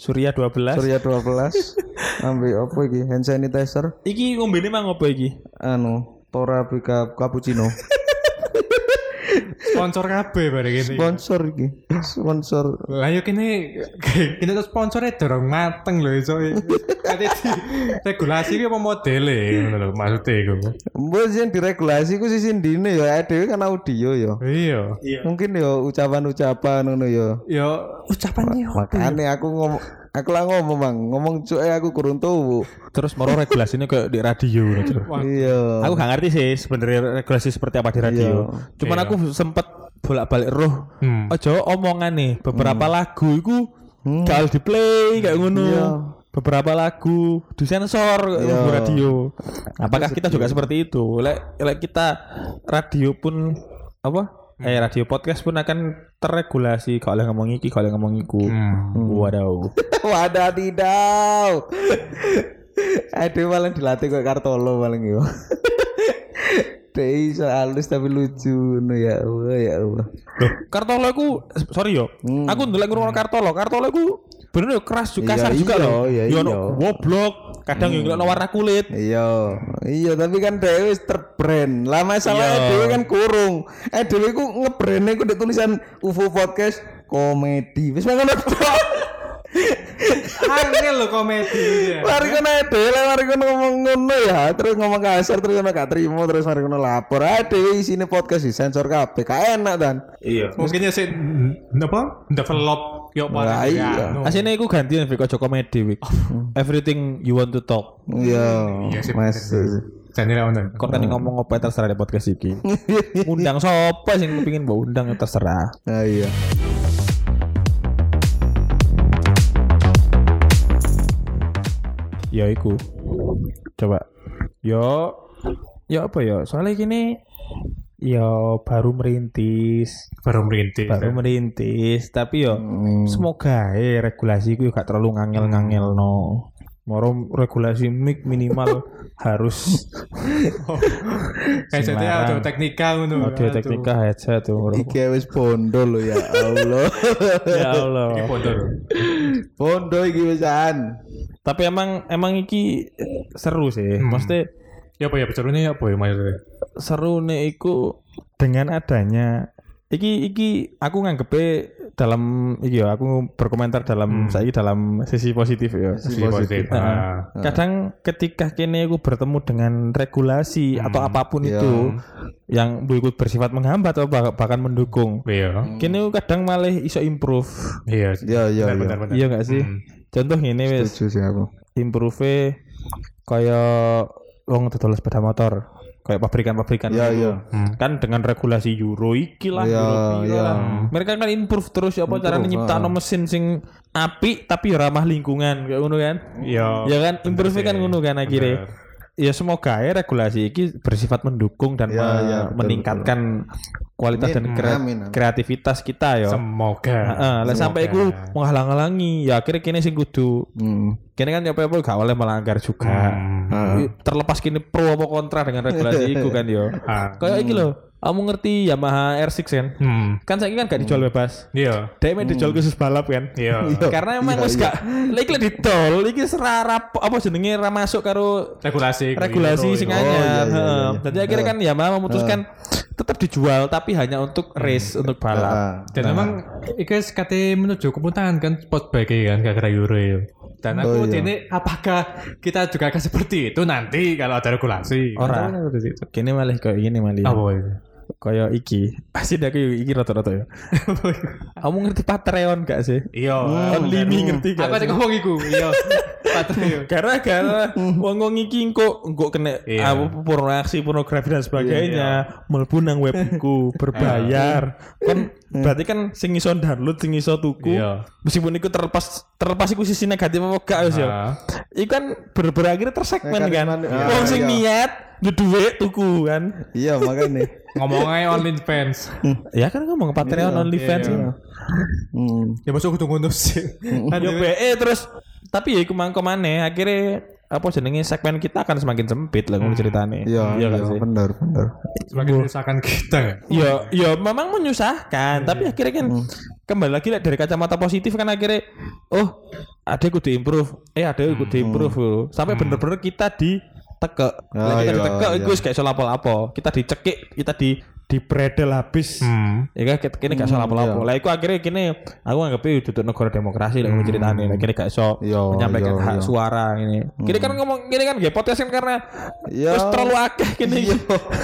Speaker 4: Surya 12.
Speaker 2: Hmm. Surya 12. Ambil apa iki? Hand sanitizer.
Speaker 4: Iki ngombene mang apa iki?
Speaker 2: Anu, Tora Pickup Cappuccino.
Speaker 3: Sponsor KB bareng
Speaker 4: Iya.
Speaker 3: ini.
Speaker 2: Sponsor iki. Sponsor
Speaker 3: Lah yuk ini ini tuh sponsornya dorong mateng loh iso. Kate di regulasi ki apa modele ngono lho maksudnya iku.
Speaker 2: Mbok sing diregulasi ku sisi ndine ya awake dhewe kan audio ya.
Speaker 3: Iya.
Speaker 2: Mungkin ya ucapan-ucapan ngono ya.
Speaker 3: Yo
Speaker 4: Ucapannya
Speaker 2: Makane aku ngomong aku lah ngomong Bang, ngomong cuek aku kurang tuwu.
Speaker 4: Terus moro regulasinya kayak di radio gitu.
Speaker 2: Iya.
Speaker 4: Aku gak ngerti sih sebenarnya regulasi seperti apa di radio. Cuman aku sempet bolak-balik roh.
Speaker 3: Hmm.
Speaker 4: Ojo omongan nih, beberapa lagu iku gak harus di play kayak ngono. Beberapa lagu disensor kayak di radio. Apakah kita juga seperti itu? Lek lek kita radio pun apa? Eh radio podcast pun akan terregulasi kalau oleh ngomong iki, kalau ngomong iku. Waduh.
Speaker 2: Wadah tidak. Aduh paling dilatih kok Kartolo paling yo. Dei iso halus tapi lucu no ya Allah ya Allah.
Speaker 4: Loh, Kartolo aku sorry yo. Aku ndelok ngurungno Kartolo. Kartolo aku bener yo keras juga kasar
Speaker 2: Iya,
Speaker 4: juga
Speaker 2: iya,
Speaker 4: loh.
Speaker 2: iya,
Speaker 4: yo
Speaker 2: iya.
Speaker 4: ono goblok, kadang yo ngelokno warna kulit.
Speaker 2: Iya, iya tapi kan dhewe wis terbrand. Lah masalahnya dhewe kan kurung. Eh dhewe ku ngebrandnya ku di tulisan UFO podcast komedi. Wis ngono.
Speaker 3: angel lho komedi ini ya.
Speaker 2: Mari kono ae dhewe lah mari kono ngomong ngono ya, terus ngomong kasar terus kono gak trimo terus mari kono lapor. Ah dhewe isine podcast disensor kabeh. Gak enak dan.
Speaker 4: Iya.
Speaker 3: Mungkin ya sih n- apa? Develop ya, yo
Speaker 2: Lah
Speaker 3: paling
Speaker 2: iya.
Speaker 3: anu.
Speaker 4: Asine aku gantian Viko Joko Medi Wik. Everything you want to talk.
Speaker 2: Iya. Mas.
Speaker 3: Jadi lah ono.
Speaker 4: Kok kan ngomong apa terserah di podcast iki. Undang sapa sing pengin mbok undang ya terserah.
Speaker 2: Ah iya.
Speaker 4: Ya iku. Coba. Yo yo apa yo? Soalnya gini yo baru merintis.
Speaker 3: Baru merintis.
Speaker 4: baru merintis tapi yo
Speaker 2: Hmm.
Speaker 4: semoga eh regulasi itu gak terlalu ngangel-ngangel no moro regulasi mic minimal harus
Speaker 3: Kayak Eh, jadi
Speaker 4: Semarang.
Speaker 3: audio teknika ngono.
Speaker 4: audio
Speaker 3: Aduh.
Speaker 4: teknika headset tuh moro.
Speaker 2: Iki wis bondo lho ya Allah.
Speaker 4: ya
Speaker 3: Ini
Speaker 4: Allah
Speaker 3: bodor.
Speaker 2: bondo iki wisan.
Speaker 4: tapi emang emang iki seru sih
Speaker 3: Hmm.
Speaker 4: maksudnya
Speaker 3: Ya apa ya bicaranya ya apa ya
Speaker 4: Iya,
Speaker 3: maksudnya?
Speaker 4: seru nih iku dengan adanya iki iki aku nganggepe dalam iki yo aku berkomentar dalam saiki dalam sisi positif ya
Speaker 3: Si positif.
Speaker 4: Heeh.
Speaker 3: Ah.
Speaker 4: kadang ketika kini aku bertemu dengan regulasi atau apapun itu yang bu- ikut bersifat menghambat atau bah- bahkan mendukung
Speaker 3: Iya.
Speaker 4: kini aku kadang malah iso improve
Speaker 3: Iya.
Speaker 2: Ya ya
Speaker 3: Benar
Speaker 2: ya.
Speaker 3: benar benar.
Speaker 4: iya gak sih
Speaker 3: Hmm.
Speaker 4: contoh ini wes
Speaker 2: Lucu sih aku.
Speaker 4: improve kaya wong dodol sepeda motor kayak pabrikan-pabrikan
Speaker 2: Ya
Speaker 4: gitu.
Speaker 2: ya.
Speaker 3: Hmm.
Speaker 4: kan dengan regulasi euro iki lah
Speaker 2: Ya,
Speaker 4: euro piro
Speaker 2: ya.
Speaker 4: lah. mereka kan Iya, improve terus apa cara nyiptakno mesin sing apik tapi ya ramah lingkungan kayak ngono kan
Speaker 3: Iya.
Speaker 4: ya kan improve kan ngono kan akhirnya ya semoga ya regulasi ini bersifat mendukung dan
Speaker 2: Ya,
Speaker 4: me-
Speaker 2: ya, betul,
Speaker 4: meningkatkan
Speaker 2: Amin,
Speaker 4: kualitas dan kre-
Speaker 2: amin, amin.
Speaker 4: kreativitas kita ya.
Speaker 3: Semoga.
Speaker 4: Heeh, lah sampai iku menghalang-halangi ya akhirnya kini sing kudu
Speaker 2: Hmm.
Speaker 4: kini kan ya apa gak oleh melanggar juga.
Speaker 3: Hmm.
Speaker 4: Iya,
Speaker 2: Ah.
Speaker 4: Terlepas kini pro apa kontra dengan regulasi itu kan yo.
Speaker 3: Ah.
Speaker 4: Kayak iki loh,
Speaker 2: Hmm.
Speaker 4: kamu ngerti Yamaha R6 kan?
Speaker 3: Hmm.
Speaker 4: Kan saya kan gak
Speaker 2: Hmm.
Speaker 4: dijual bebas.
Speaker 3: Iya.
Speaker 4: Dia emang dijual khusus balap kan?
Speaker 3: Iya.
Speaker 4: Karena emang wis
Speaker 2: iya.
Speaker 4: gak lek lek ditol iki serarap apa jenenge ra masuk karo
Speaker 3: Regulasi. gitu. Oh,
Speaker 4: regulasi sing
Speaker 3: singa
Speaker 4: anyar.
Speaker 2: iya,
Speaker 4: Heeh.
Speaker 2: iya.
Speaker 4: Jadi akhirnya kan Yamaha memutuskan tetap dijual tapi hanya
Speaker 2: Hmm.
Speaker 4: untuk race untuk balap.
Speaker 2: Ah.
Speaker 3: Dan memang itu kate menuju kemuntahan kan spot bike kan gara-gara Euro ya. Dan aku ini apakah kita juga akan seperti itu nanti kalau ada regulasi? Kan tahu
Speaker 4: Ora.
Speaker 3: kan seperti itu.
Speaker 4: Kini malah kayak gini malah.
Speaker 3: Apa itu?
Speaker 4: Kayak ya. iki. Pasti aku iki rata-rata ya. Kamu ngerti Patreon gak sih?
Speaker 3: Iya.
Speaker 4: Only me ngerti gak?
Speaker 3: Aku
Speaker 4: sih?
Speaker 3: aja ngomong iku. Iya. Patrio.
Speaker 4: Karena karena
Speaker 2: Hmm.
Speaker 4: wong wong iki engko engko kena
Speaker 3: Iya.
Speaker 4: apa pornografi pornografi
Speaker 2: Iya,
Speaker 4: dan sebagainya, mlebu nang
Speaker 2: Ah,
Speaker 4: webku berbayar. kan
Speaker 2: Hmm.
Speaker 4: berarti kan sing iso download, sing iso tuku.
Speaker 3: Iya.
Speaker 4: Meskipun iku terlepas terlepas iku sisi negatif apa gak wis ya.
Speaker 3: Ah.
Speaker 4: Iku kan ber berakhir tersegmen kan.
Speaker 2: Negatif, iya.
Speaker 4: Wong sing
Speaker 2: Iya.
Speaker 4: niat duwe duit tuku kan.
Speaker 2: Iya makanya.
Speaker 3: Ngomong aja online fans.
Speaker 4: Ya kan ngomong Patreon OnlyFans.
Speaker 3: iya.
Speaker 2: Hmm.
Speaker 3: Ya masuk kudu ngono sih.
Speaker 4: Kan Yo
Speaker 3: Iya,
Speaker 4: BE eh, terus tapi ya iku mangko maneh akhirnya apa jenenge segmen kita akan semakin sempit lah ngomong ceritane.
Speaker 2: Iya, iya,
Speaker 4: gak kan sih?
Speaker 2: benar, benar.
Speaker 3: Semakin menyusahkan kita kan.
Speaker 4: Ya,
Speaker 2: Iya.
Speaker 4: ya memang
Speaker 2: Hmm.
Speaker 4: menyusahkan, tapi akhirnya kan kembali lagi lah dari kacamata positif kan akhirnya oh, ada kudu improve. Eh, ada kudu
Speaker 2: Hmm.
Speaker 4: improve lho. Sampai bener-bener kita diteke. Lah,
Speaker 2: Ah,
Speaker 4: kita
Speaker 2: iya,
Speaker 4: diteke
Speaker 2: iya.
Speaker 4: iku wis gak iso lapo-lapo. Kita dicekik, kita di di habis.
Speaker 3: Hmm.
Speaker 4: Ya kan kene gak iso
Speaker 2: iya.
Speaker 4: lapo-lapo. Lah iku akhirnya kene aku anggap duduk negara demokrasi lah hmm. ceritane. Lah kene gak iso
Speaker 2: Iya,
Speaker 4: menyampaikan
Speaker 2: iya,
Speaker 4: hak
Speaker 2: iya.
Speaker 4: suara ini. Kene kan ngomong kene kan nggih podcast kan karena
Speaker 2: Iya.
Speaker 4: Terus terlalu akeh gini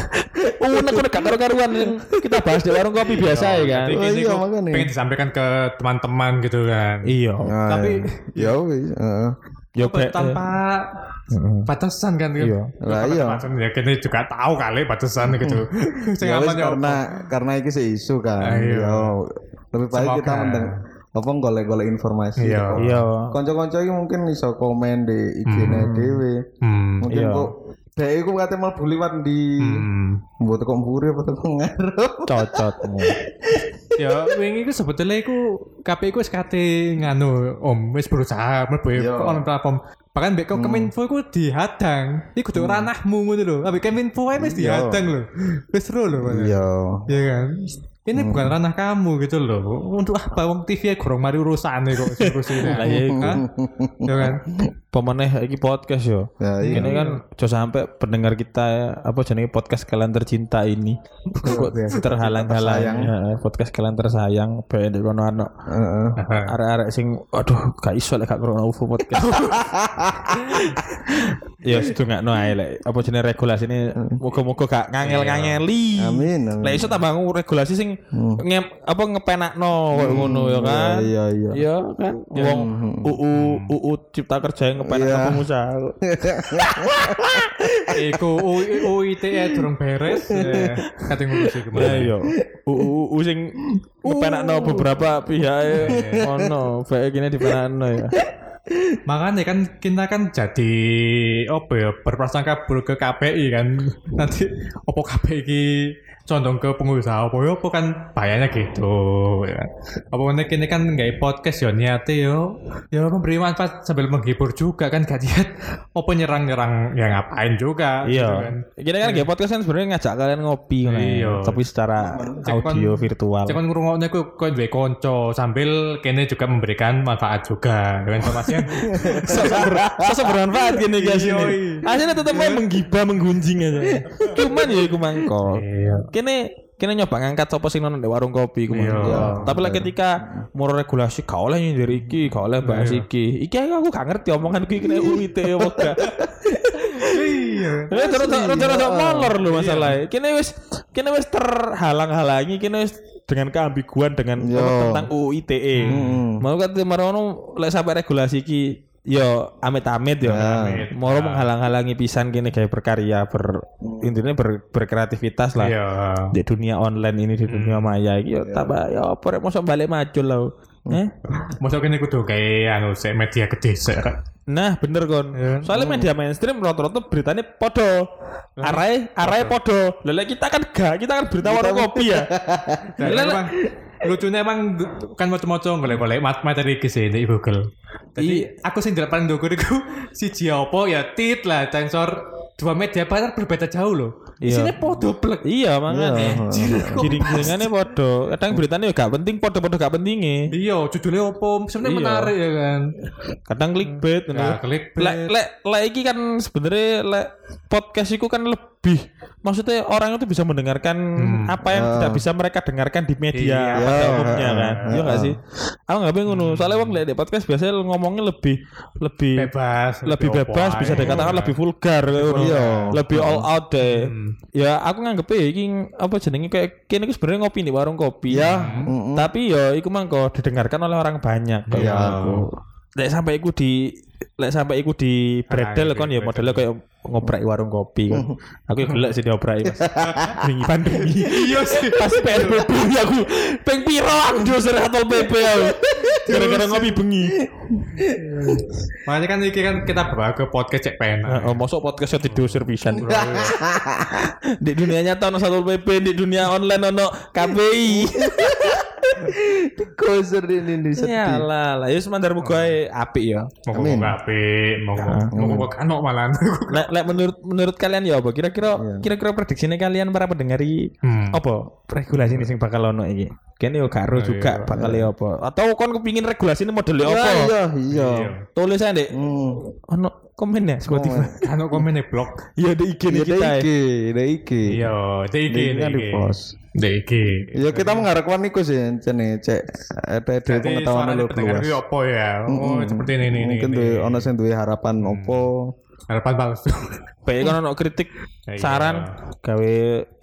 Speaker 4: Unek unek gak karu-karuan yang Kita bahas di warung kopi biasa ya kan
Speaker 3: Jadi
Speaker 2: Oh,
Speaker 3: kini
Speaker 2: iya,
Speaker 3: aku
Speaker 2: makanya.
Speaker 3: pengen disampaikan ke teman-teman gitu kan.
Speaker 4: Iya
Speaker 2: Nah,
Speaker 3: Tapi-
Speaker 2: ya wis, heeh.
Speaker 4: Yo
Speaker 3: Apa,
Speaker 4: eh,
Speaker 3: tanpa batasan kan
Speaker 4: Iya.
Speaker 2: Lah, iya.
Speaker 3: batasan ya kini juga tahu kali batasan gitu sing
Speaker 2: Ya wis,
Speaker 3: amannya
Speaker 2: karena
Speaker 3: apa?
Speaker 2: karena iki sih isu kan.
Speaker 3: Ayo.
Speaker 2: Ya, Lebih baik kita
Speaker 3: Semoga.
Speaker 2: mendeng apa golek-golek informasi.
Speaker 3: Iya.
Speaker 4: Iya
Speaker 2: Kanca-kanca iki mungkin iso komen di IG-ne dhewe.
Speaker 3: hmm.
Speaker 2: Mungkin
Speaker 4: Iya.
Speaker 2: kok dhek iku kate mlebu liwat ndi.
Speaker 3: hmm.
Speaker 2: Mbok teko mburi apa teko ngarep.
Speaker 4: Cocot
Speaker 3: ya wingi ku sebetulnya ku KPI ku sekate nganu om wis berusaha mlebu
Speaker 2: Iya. Mm.
Speaker 3: ke online platform bahkan mbek kok Keminfo ku dihadang iku kudu ranahmu ngono lho ambek Keminfo ae wis
Speaker 2: Iya.
Speaker 3: dihadang lho wis seru lho padahal.
Speaker 2: Iya. Mm.
Speaker 3: Iya kan? Ini bukan ranah kamu gitu loh. Untuk apa wong TV ya kurang mari urusan kok urusin
Speaker 4: Lah, iya, iku.
Speaker 3: Ya kan?
Speaker 4: Pemeneh ini podcast yo
Speaker 2: Ya iya.
Speaker 4: Ini kan Jauh sampai pendengar kita ya, Apa jenis podcast kalian tercinta ini Kok
Speaker 2: Iya.
Speaker 4: terhalang-halang ya, Podcast kalian tersayang Baik di kono ano
Speaker 2: Heeh.
Speaker 4: Arek-arek sing Aduh gak iso lek gak kurang UFO podcast Ya itu gak no ae lek Apa jenis regulasi ini Moga-moga gak ngangel-ngangeli
Speaker 2: Amin. amin.
Speaker 4: Lah iso tambah ngu- regulasi sing nge, apa ngepenakno koyo ngono ya kan.
Speaker 2: Iya, iya.
Speaker 4: Ya kan wong UU UU Cipta Kerja yang ngepenakno
Speaker 2: Iya.
Speaker 4: pengusaha.
Speaker 3: Iku U- UITE durung beres. ya. Kate ngurusi
Speaker 4: Ya
Speaker 3: kemarin.
Speaker 4: yo. UU UU sing ngepenakno beberapa pihak ya. ngono. Bae kene dipenakno ya.
Speaker 3: Makanya kan kita kan jadi apa ya berprasangka buruk ke KPI kan. Nanti opo KPI ki condong ke pengusaha opo ya opo kan bahayanya gitu ya. Apa mana kini kan nggak podcast ya niatnya yo ya memberi manfaat sambil menghibur juga kan gak niat opo nyerang-nyerang ya ngapain juga
Speaker 4: Iya.
Speaker 3: gitu kan.
Speaker 4: Kita kan kayak podcast kan sebenarnya ngajak kalian ngopi ngono ya.
Speaker 3: Iya.
Speaker 4: Tapi secara
Speaker 3: Cek kon-
Speaker 4: audio virtual.
Speaker 3: Cuman ngurungoknya aku kok duwe konco sambil kene juga memberikan manfaat juga dengan informasi yang
Speaker 4: Sosok ber- sosok bermanfaat gini guys
Speaker 3: Iya,
Speaker 4: ini.
Speaker 3: iya.
Speaker 4: Aslinya tetep aja menggibah menggunjing aja. Cuman ya iku mangko.
Speaker 3: Iya.
Speaker 4: kene kene nyoba ngangkat sapa sing nonton di warung kopi ku.
Speaker 3: Iya.
Speaker 4: Iya. Tapi lah ketika muro regulasi gak oleh nyindir iki, gak oleh
Speaker 3: Iya.
Speaker 4: bahas iki. Iki aku aku gak ngerti omonganku iki kena UIT ya moga.
Speaker 3: Iya.
Speaker 4: Ini rada-rada molor lho masalahnya. Kene wis kene wis terhalang-halangi, kene wis dengan keambiguan dengan
Speaker 2: Iya.
Speaker 4: tentang UU ITE. E. Mau kate marono lek sampai regulasi iki Yo, amit-amit yo.
Speaker 3: Amit-amit.
Speaker 4: Moro menghalang-halangi pisan kene kayak berkarya, ber intinya ber- berkreativitas lah
Speaker 3: Mm. Iya.
Speaker 4: Hmm. di dunia online ini di dunia maya iki yo tambah ya apa rek mosok balik macul lho. Eh?
Speaker 3: Masa kene kudu kayak anu sik media gede sik.
Speaker 4: Nah, bener kon. Soalnya media mainstream rata-rata beritanya podo. Arai, arai podo. Lele kita kan gak, kita kan berita warung kopi ya.
Speaker 3: Nah,
Speaker 4: Lele-
Speaker 3: emang lucunya emang kan macam-macam golek-golek mat- materi ke sini di Google. Jadi aku sing paling ndukur iku siji apa ya tit lah sensor dua media player berbeda jauh loh.
Speaker 4: Iya.
Speaker 3: Sini podo plek.
Speaker 4: Iya, makanya. Jiring-jiringannya podo. Kadang beritanya ya gak penting, podo-podo gak pentingnya.
Speaker 3: Iya, judulnya apa? Sebenarnya
Speaker 4: Iya.
Speaker 3: menarik ya kan.
Speaker 4: Kadang clickbait. gitu.
Speaker 3: Nah, klik
Speaker 4: lek lek lek iki kan sebenarnya lek podcast iku kan lebih maksudnya orang itu bisa mendengarkan apa yang tidak bisa mereka dengarkan di media
Speaker 3: Iya.
Speaker 4: pada
Speaker 2: Iya.
Speaker 4: umumnya kan iya gak sih aku nggak bingung ngono. soalnya wong lek di podcast biasanya ngomongnya lebih lebih
Speaker 3: bebas,
Speaker 4: lebih bebas bisa dikatakan lebih vulgar
Speaker 2: Iya.
Speaker 4: lebih all out deh
Speaker 3: Hmm.
Speaker 4: ya aku nganggep ya iki apa jenenge kayak kini aku sebenarnya ngopi di warung kopi ya tapi ya iku mangko didengarkan oleh orang banyak
Speaker 2: Ya aku.
Speaker 4: lek sampai iku di lek sampai iku di
Speaker 3: Ah,
Speaker 4: bredel kon ya
Speaker 3: di bredel.
Speaker 4: modelnya kayak ngoprak warung kopi kan. aku ya gelek sih dioprak Mas. Wingi pandemi. Iya sih. Pas PSBB ya aku ping piro aku diusir atol PP aku. ya? Gara-gara ngopi bengi.
Speaker 3: Makanya kan iki kan kita bawa ke podcast cek
Speaker 4: Nah,
Speaker 3: pena.
Speaker 4: oh, mosok podcastnya di diusir pisan. di dunia nyata ono satpol PP, di dunia online ono KPI.
Speaker 2: Koser di
Speaker 3: Iya,
Speaker 2: Indonesia.
Speaker 4: ya lah, lah. Yus mandar muga ae apik ya.
Speaker 3: Mau ngomong ape, mau ngomong ngomong kanok malan.
Speaker 4: Lek lek menurut menurut kalian ya apa? Kira-kira kira-kira prediksinya kalian para pendengari
Speaker 3: Hmm.
Speaker 4: apa regulasi ini sing bakal ono iki kene yo gak ero juga bakal yo apa atau kon kepingin regulasi ini modele apa
Speaker 2: Iya, iya, iya.
Speaker 4: tulis ae Dek.
Speaker 2: Hmm.
Speaker 4: ono komen ya Spotify
Speaker 3: Kanok komen di blog.
Speaker 4: iya di IG
Speaker 2: Ini
Speaker 4: nih kita ya.
Speaker 2: iki, ini iki.
Speaker 3: Iya, di iki,
Speaker 2: Ini
Speaker 3: di
Speaker 2: kan di
Speaker 3: iki.
Speaker 2: pos.
Speaker 3: Di iki.
Speaker 2: Ya kita mengharapkan niku sih cene cek ada ada
Speaker 3: Jadi
Speaker 2: pengetahuan
Speaker 3: suaranya
Speaker 2: lebih
Speaker 3: pendengar
Speaker 2: luas.
Speaker 3: itu apa ya? Oh, seperti ini ini.
Speaker 2: hmm. Mungkin
Speaker 3: ini. Hmm.
Speaker 2: duwe ono sing duwe harapan opo.
Speaker 3: harapan palsu.
Speaker 4: baik kan ono kritik
Speaker 3: Ya, iya.
Speaker 4: saran gawe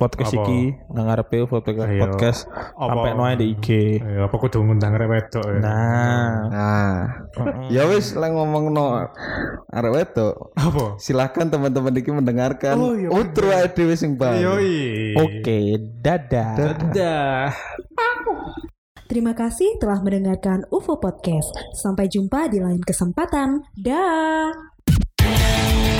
Speaker 4: podcast
Speaker 3: Apa?
Speaker 4: iki nang ngarepe podcast
Speaker 3: Iya.
Speaker 4: podcast
Speaker 3: Apa?
Speaker 4: sampai noe di IG
Speaker 3: Ya apa kudu ngundang arek wedok ya.
Speaker 4: nah
Speaker 2: Nah,
Speaker 3: Hmm.
Speaker 2: ya wis lek ngomongno arek wedok,
Speaker 3: Apa?
Speaker 2: silakan teman-teman iki mendengarkan outro ae dhewe sing bae.
Speaker 3: Yoi.
Speaker 4: oke Iya. dadah
Speaker 3: Dah.
Speaker 1: Terima kasih telah mendengarkan UFO Podcast. Sampai jumpa di lain kesempatan. Dah.